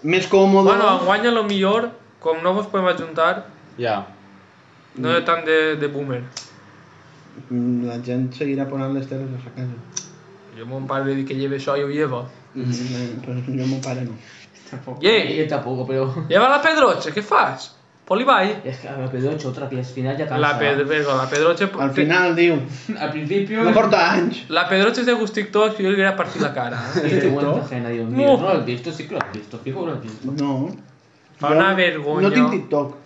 A: Més còmode.
D: Bueno, enguany a lo millor, com no vos podem ajuntar,
C: Ja.
D: no hi ha tant de, de boomer.
A: Mm, La gent seguirà posant les teles a sa casa.
D: Jo mon pare li dic que lleve això i ho lleva.
A: Mm, però jo mon pare no.
B: Tampoco.
D: Yeah.
B: Yo tampoco, pero.
D: Lleva la pedroche, què fas? Polibai.
B: Es que a la P8 otra que al final ya cansa.
D: La, ped perdó, la pedroche...
A: Al final diu, *laughs*
B: Al principio.
A: no porta anys.
D: La pedroche és de gust TikTok i jo li hauria partit la cara.
A: *laughs*
D: eh?
B: Y
A: este
B: te cuenta ajena, Dios mío. No
D: No.
B: lo has visto, sí que lo has visto. Fijo que lo has visto.
A: No.
D: Fa una
A: Jo
D: vergonya.
A: No tinc TikTok.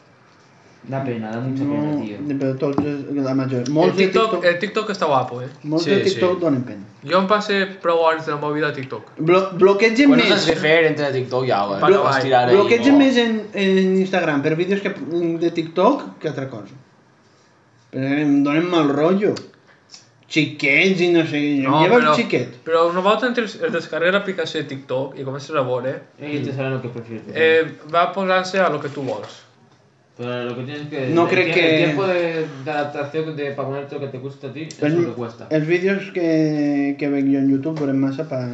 B: Da pena, da mucha
A: No,
B: pena, tío.
A: però tots, la major.
D: El
A: Molts de
D: TikTok,
A: TikTok,
D: el TikTok està guapo, eh?
A: molts
C: Sí,
A: de TikTok
C: sí.
A: donen pena.
D: Jo em passe prou hores de la meva vida a TikTok.
A: Blo bloquegen
C: Quan no
A: més.
C: saps què fer, entra a TikTok ja, eh?
D: Bueno,
C: Pots
D: vai.
C: tirar ahí.
A: Bloquegen més en, en Instagram per vídeos que, de TikTok que altra cosa. Però em donen mal rotllo. Xiquets i no sé què. No, Lleva el xiquet.
D: Però una volta entre es descarrega l'aplicació de TikTok i comences a veure,
B: Y te sale este lo que prefieres.
D: eh, va posant-se a lo que tu *laughs* vols.
B: Pero lo que tienes que.
A: No
B: el
A: creo
B: tie-
A: que-
B: El tiempo de, de adaptación de, para ponerte lo que te gusta a ti es
A: El-
B: lo que cuesta.
A: Els vídeos que, que veig jo en YouTube veurem massa pa,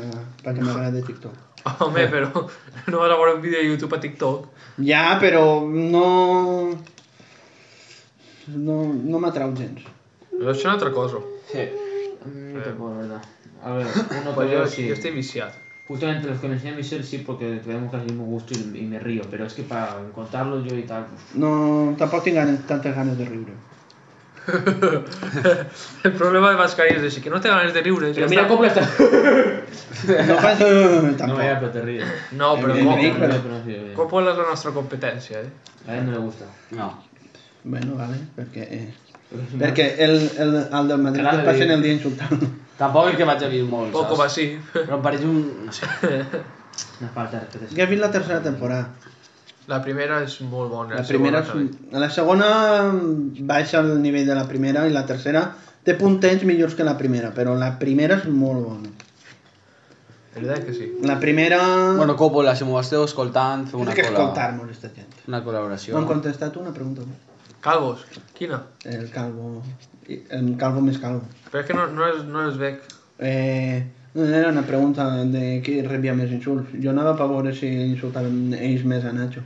A: pa que m'agrada de TikTok.
D: Home, però no vas a veure un vídeo de YouTube a TikTok.
A: Ja, però no... No, no m'atrau gens.
D: Però això és una altra cosa.
C: Sí.
A: Eh.
B: Mm, tampoco, la verdad. A ver, uno
D: Però
B: por
D: jo,
B: ello sí.
D: jo estic viciat.
B: Justamente los que me enseña Michelle sí, porque tenemos casi el mismo gusto y, y me río. Pero es que para encontrarlo yo y tal. pues, uf,
A: No, tampoc tinc ganes, tantes ganes de riure.
D: *laughs* El problema de mascarillas és que no té ganes de riure.
B: Pero
D: ja
B: mira
D: està.
B: cómo está.
A: No faig... *laughs*
B: No,
A: Tampoc.
B: ya, *laughs* pero te ríes.
D: No, però
A: Eh, eh,
D: com?
A: Pero-
B: A
D: Coppola és la nostra competència, eh?
B: él no le gusta.
C: No.
A: Bueno, vale, perquè... Eh, perquè el, el, el del Madrid
C: Clar,
A: es passen
C: eh.
A: el dia insultant.
C: Tampoc és que vaig a vist molt,
D: Poco va així.
C: Però em pareix un... No sé.
B: Una falta de respeto.
A: Ja he vist la tercera temporada.
D: *laughs* La primera és molt bona.
A: La, primera és...
D: segona també.
A: un- La segona mm, baixa el nivell de la primera i la tercera té puntets millors que la primera, però la primera és molt bona.
D: Veritat que sí.
A: La primera...
C: Bueno, Coppola, si m'ho esteu escoltant, feu
A: una
C: una
A: que
C: cola...
A: escoltar-nos, aquesta gent.
C: Una
A: No
C: col·laboració.
A: han contestat una pregunta. no?
D: Calvos, quina?
A: El calvo... El calvo més calvo.
D: Però és que no, no, és, no és bec.
A: Eh, no era una pregunta de qui rebia més insults. Jo anava a veure si insultaven ells més a Nacho.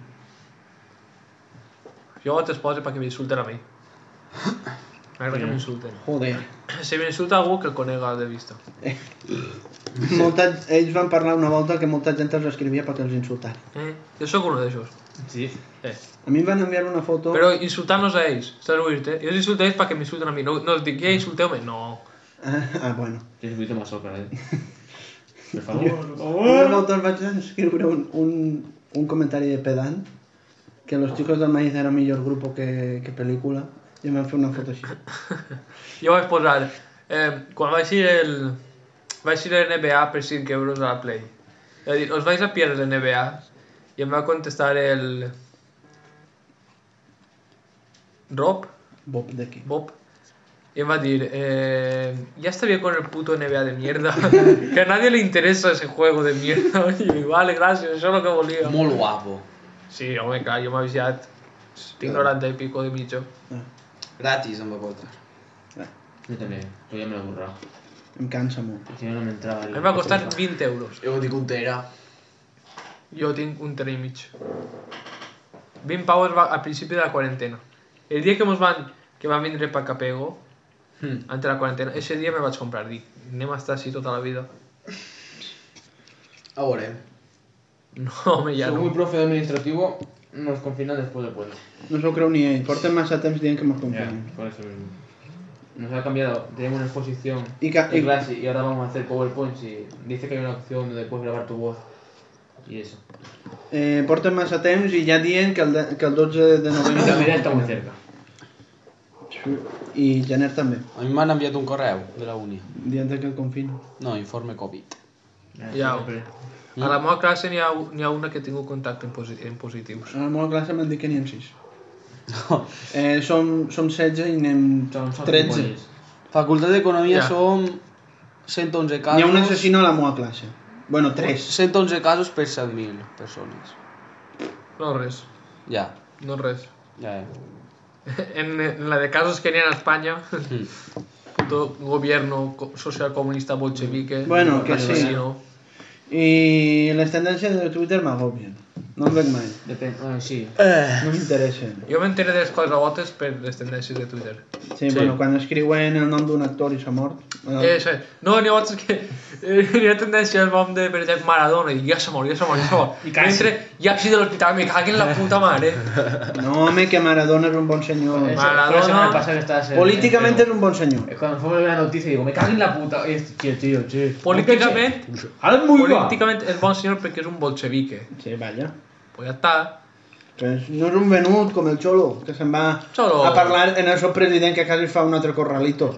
D: Jo vaig esposa perquè m'insulten a mi. M'agrada que m'insulten.
A: Joder.
D: *clears throat* Si m'insulta algú, que el conega de vista.
A: Molta, ells van parlar una volta que molta gent els escrivia perquè els insultaren.
D: Eh? Jo sóc un d'aixòs.
B: Sí.
D: Eh.
A: A mi em van enviar una foto...
D: Però insultant-nos a ells, saps vull dir-te? Jo els insulto ¿eh? a ells perquè m'insulten a mi. No, no els dic, ja insulteu-me. No.
A: Ah, *laughs* ah bueno.
B: Tienes un poquito más soca, *laughs* eh. Por favor.
A: Una volta em vaig escriure un, un, un comentari de pedant que los chicos del maíz era millor grupo que, que pel·lícula i em van fer una foto així.
D: Jo vaig posar... Eh, quan vaig ir el... Vaig ir a NBA per 5 euros a la Play. És a dir, us vais a perdre l'NBA? I em va contestar el... Rob?
A: Bob d'aquí.
D: Bob. Y me va a decir, eh, ya está bien con el puto NBA de mierda. *laughs* que a nadie le interesa ese juego de mierda. *laughs* Y yo, vale, gracias, eso es lo que volía.
C: Molt guapo.
D: Sí, hombre, claro, yo me avisé. Tinc 90 y pico de bicho.
A: Ah,
C: Gratis em va portar.
B: Yo también. Yo ya me lo he burrado.
A: em cansa molt.
B: Si no, no me entraba.
D: A mi em va costar 20 euros.
C: Jo dic un tera.
D: Jo tinc un tren i mig. 20 pavos va, al principi de la quarantena. El dia que mos van, que van vindre pa Capego,
C: Hmm.
D: antes de la quarantena, ese dia me vaig comprar, dic, anem a estar així tota la vida. *laughs*
C: A veure.
D: No, home, ja
B: Según
D: no.
B: el profe administrativo, nos confinan después del puente.
A: No s'ho creu ni ell. Porten massa temps dient que mos confiem.
B: por eso mismo. Nos ha cambiado. Tenemos una exposición
A: I, ca
B: en
A: i,
B: clase y ahora vamos a hacer PowerPoints y dice que hay una opción donde puedes grabar tu voz y eso.
A: Eh, porten massa temps i ja dient que el, de, que el 12 de novembre...
B: La mira está muy cerca.
A: i Janer també.
C: A mi m'han enviat un correu de la uni.
A: Dient que el confino.
C: No, informe Covid.
D: Ja.
B: Siempre.
D: A la meva classe n'hi ha, u- n'hi ha una que ha tingut contacte en, posi en positius.
A: A la meva classe m'han dit que n'hi ha 6. Eh, som, som 16 i n'hem
B: Son- son
A: 13.
B: futbolistas.
C: Facultat d'Economia
D: Ja.
C: som 111 casos.
A: N'hi ha un assassino a la meva classe. Bueno, 3.
C: 111 casos per 7.000 persones.
D: No res,
C: Ja,
D: no res.
C: ja, ja.
D: *laughs* En, en la de casos que n'hi ha a Espanya, puto gobierno co- socialcomunista bolchevique.
A: Bueno, que sí.
D: asesino.
A: I les tendències de Twitter m'agobien. No en veig mai.
B: Depende, bueno, sí.
C: Eh. *laughs*
A: No m'interessen.
D: Jo m'enteré de les clarabotes per les tendències de Twitter.
A: Sí, sí, bueno, quan escriuen el nom d'un actor i s'ha mort...
D: No,
A: Eh,
D: eh, sí. no n'hi ha botes que... *laughs* eh, N'hi ha tendència al nom de, per exemple, Maradona, i ja s'ha mort, ja s'ha mort, ja
A: *laughs*
D: s'ha mort. I Mentre ja així de l'hospital, me caguen la puta mare.
A: No, home, que Maradona és un bon senyor.
B: Eso,
D: Maradona.
B: fue la semana pasada que estabas en-
A: Políticament
B: en-
A: és un bon senyor.
B: Cuando fue la noticia, digo, me cago en la puta. Y es- Tío, tío, tío.
D: Políticament,
B: Ahora es muy guapo.
D: políticament és bon senyor perquè és un bolchevique.
A: Sí, vaja.
D: Pues ja està.
A: Pues no és un venut com el Cholo, que se'n va
D: Cholo.
A: a parlar en el seu president que quasi fa un altre corralito.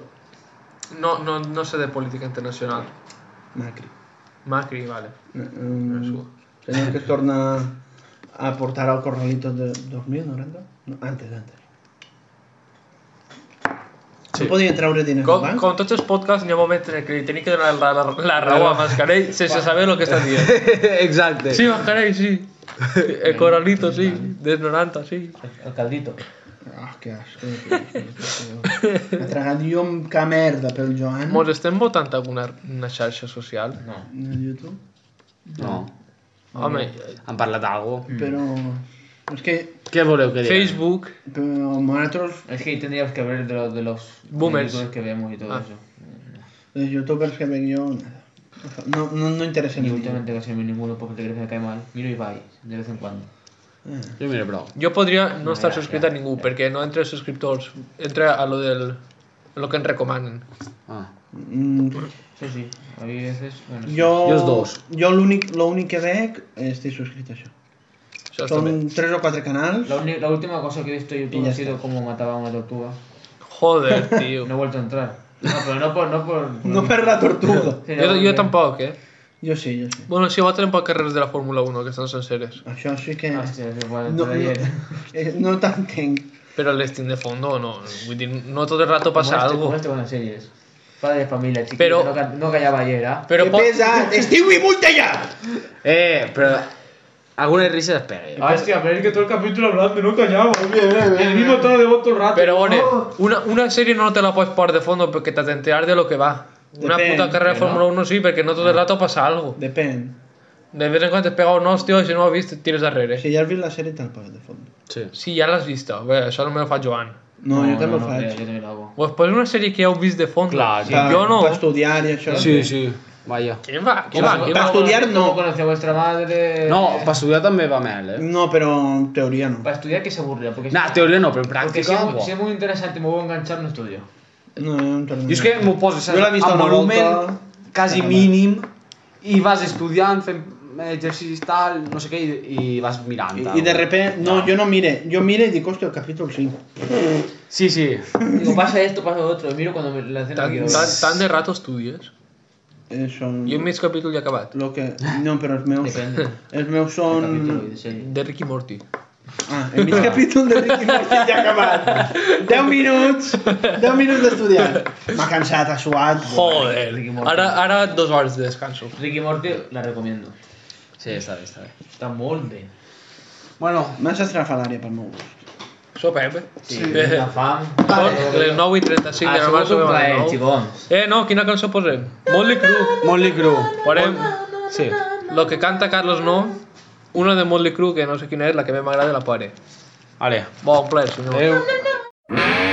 D: No, no, no sé de política internacional.
A: Macri.
D: Macri, vale.
A: Mm, senyor que es torna a portar al corralito de 2090? No, antes, antes. Sí.
D: Sí.
A: No podien treure diners
D: Com,
A: al banc?
D: com tots els podcasts, hi ha moments en què li tenim que donar la, la, la raó a Mascarell sense saber el que està dient.
C: *laughs* Exacte.
D: Sí, Mascarell, sí. El Coralito, sí. Dels 90, sí.
B: El caldito.
A: Ah, que asco. que asco. M'ha tragat jo amb ca merda pel Joan.
D: Mos estem votant alguna una xarxa social?
B: No.
A: En el YouTube.
C: No,
D: Home,
C: han parlat algo.
D: Mm.
A: Però... És que...
C: Què voleu que digui?
D: Facebook,
A: Però nosaltres,
B: Es que ahí tendríamos que hablar de, los- de los
D: Boomers.
B: youtubers que vemos y todo
D: Ah.
B: eso.
A: els youtubers que veig Eh, jo, nada. No, no, no interessa
B: Y
A: ni un.
B: últimamente casi no veo ninguno porque te crees que me cae mal. Miro y vais, de vez en cuando.
A: Eh,
C: Jo mira, però...
D: jo podria no estar subscrit a ningú, perquè no entre els subscriptors, entra a lo del lo que ens recomanen.
C: Ah.
A: Mm,
B: Sí, sí. A mí a veces. Bueno, sí.
A: jo...
C: Jo els dos.
A: Jo l'únic l'únic que veig estic subscrit a això.
D: Això està bé.
A: Són tres o quatre canals.
B: La, uni- la última cosa que he visto en
A: Y
B: YouTube
A: ya
B: ha sido cómo mataba a una tortuga.
D: Joder, tio.
B: No he vuelto a entrar. No, pero no por. No por, por-
A: No per la tortuga.
B: sino
D: Jo, jo
B: porque-
D: tampoc, eh?
A: Jo sí, jo sí.
D: Bueno, sí, voten per carreres de la Fórmula 1, que estan senceres.
A: Això sí que...
B: Hostia, sí, bueno,
A: No, no,
B: ayer.
A: *laughs* eh, no t'entenc.
D: Però les tinc de fondo, no? Vull dir, no tot el rato
B: Como
D: passa
B: este- como
D: algo.
B: este con las series. Padre de familia, chiquito.
D: Pero-
B: No, ca- no callaba ayer, ¿ah?
D: Però
A: que
D: pot...
A: pesat! Estiu i multa ja!
C: Eh, però... Algunes rises es peguen.
B: Ah, hostia, pero es que todo el capítulo hablando, no callaba. El mismo tono de voz todo el rato.
D: Però bueno, una, una sèrie no te la pots posar de fondo perquè t'has d'enterar de lo que va. Una
A: Depèn,
D: puta carrera de Fórmula 1 sí, perquè no tot el rato passa algo.
A: Depèn.
D: De vez en cuando te pega un hostio i si no ho has vist et tires darrere.
A: Si ja has vist la sèrie te'l poses de fons.
C: Sí.
D: Sí, ja l'has vista. Bé, això només ho fa Joan.
A: No, jo també ho
B: no,
A: faig.
B: Yo también lo hago.
D: Pues posa una sèrie que ja heu vist de fons.
C: Clar,
D: sí,
A: Pa-
D: eh. jo no.
A: Pa estudiar i això.
C: Sí, sí. Vaja.
D: Què va? Què va? Què
A: pa-
D: va?
A: estudiar,
B: ¿Cómo
A: no.
B: conoce a vuestra madre?
C: No, per estudiar també va mal, eh?
A: No, però en teoria no.
B: Para Eh, estudiar que se aburría. Porque,
C: No, teoria no, però en
B: porque si, es
C: pràctica...
B: muy,
C: buah.
B: si es muy interesante y me voy a enganchar, no *laughs* estudio.
A: No, no en teoria.
C: Jo és que m'ho poses
A: Jo l'he vist
C: en
A: una
C: volumen
A: volta.
C: quasi
A: Ah,
C: mínim i vas estudiant, fent exercicis tal, no sé què, i, i vas mirant.
A: I,
C: tal.
A: I de repente, no, jo no mire, jo mire i dic, hòstia, el capítol 5.
C: Sí, sí.
B: Digo, pasa esto, pasa lo otro. Miro cuando me la cena
D: Tant,
B: quiero.
D: tant, tant de rato estudies?
A: Eso,
D: Jo en mig capítol ja he acabat.
A: Eh, lo que... No, però els meus...
B: Depende.
A: Els meus
B: Capítulo y
A: són...
B: de serie.
D: De Ricky Morty.
A: Ah, el mig capítol de Ricky Morty ja ha acabat. 10 minuts, 10 minuts d'estudiar. M'ha cansat, ha suat.
D: Joder.
B: Ricky Morty.
D: Ara, ara dos hores de descanso.
B: Ricky y Morty la recomiendo.
C: Sí, està bé, està bé.
B: Está molde.
C: Bueno,
A: Massa estrafalària pel meu gust.
D: Sopem, eh?
B: Sí, la fam.
D: Són les 9 i 35
B: Ah,
D: de la
B: somos
D: març.
B: un plaer,
D: sobre les 9.
B: chicos.
D: Eh, no, quina cançó posem? Motley Crue.
C: Motley Crue.
D: Posem
C: Sí.
D: lo que canta Carlos No, una de Motley Crue, que no sé quina és, la que més m'agrada, la pare.
C: Vale.
D: Bon plaer, senyor.
C: Adéu.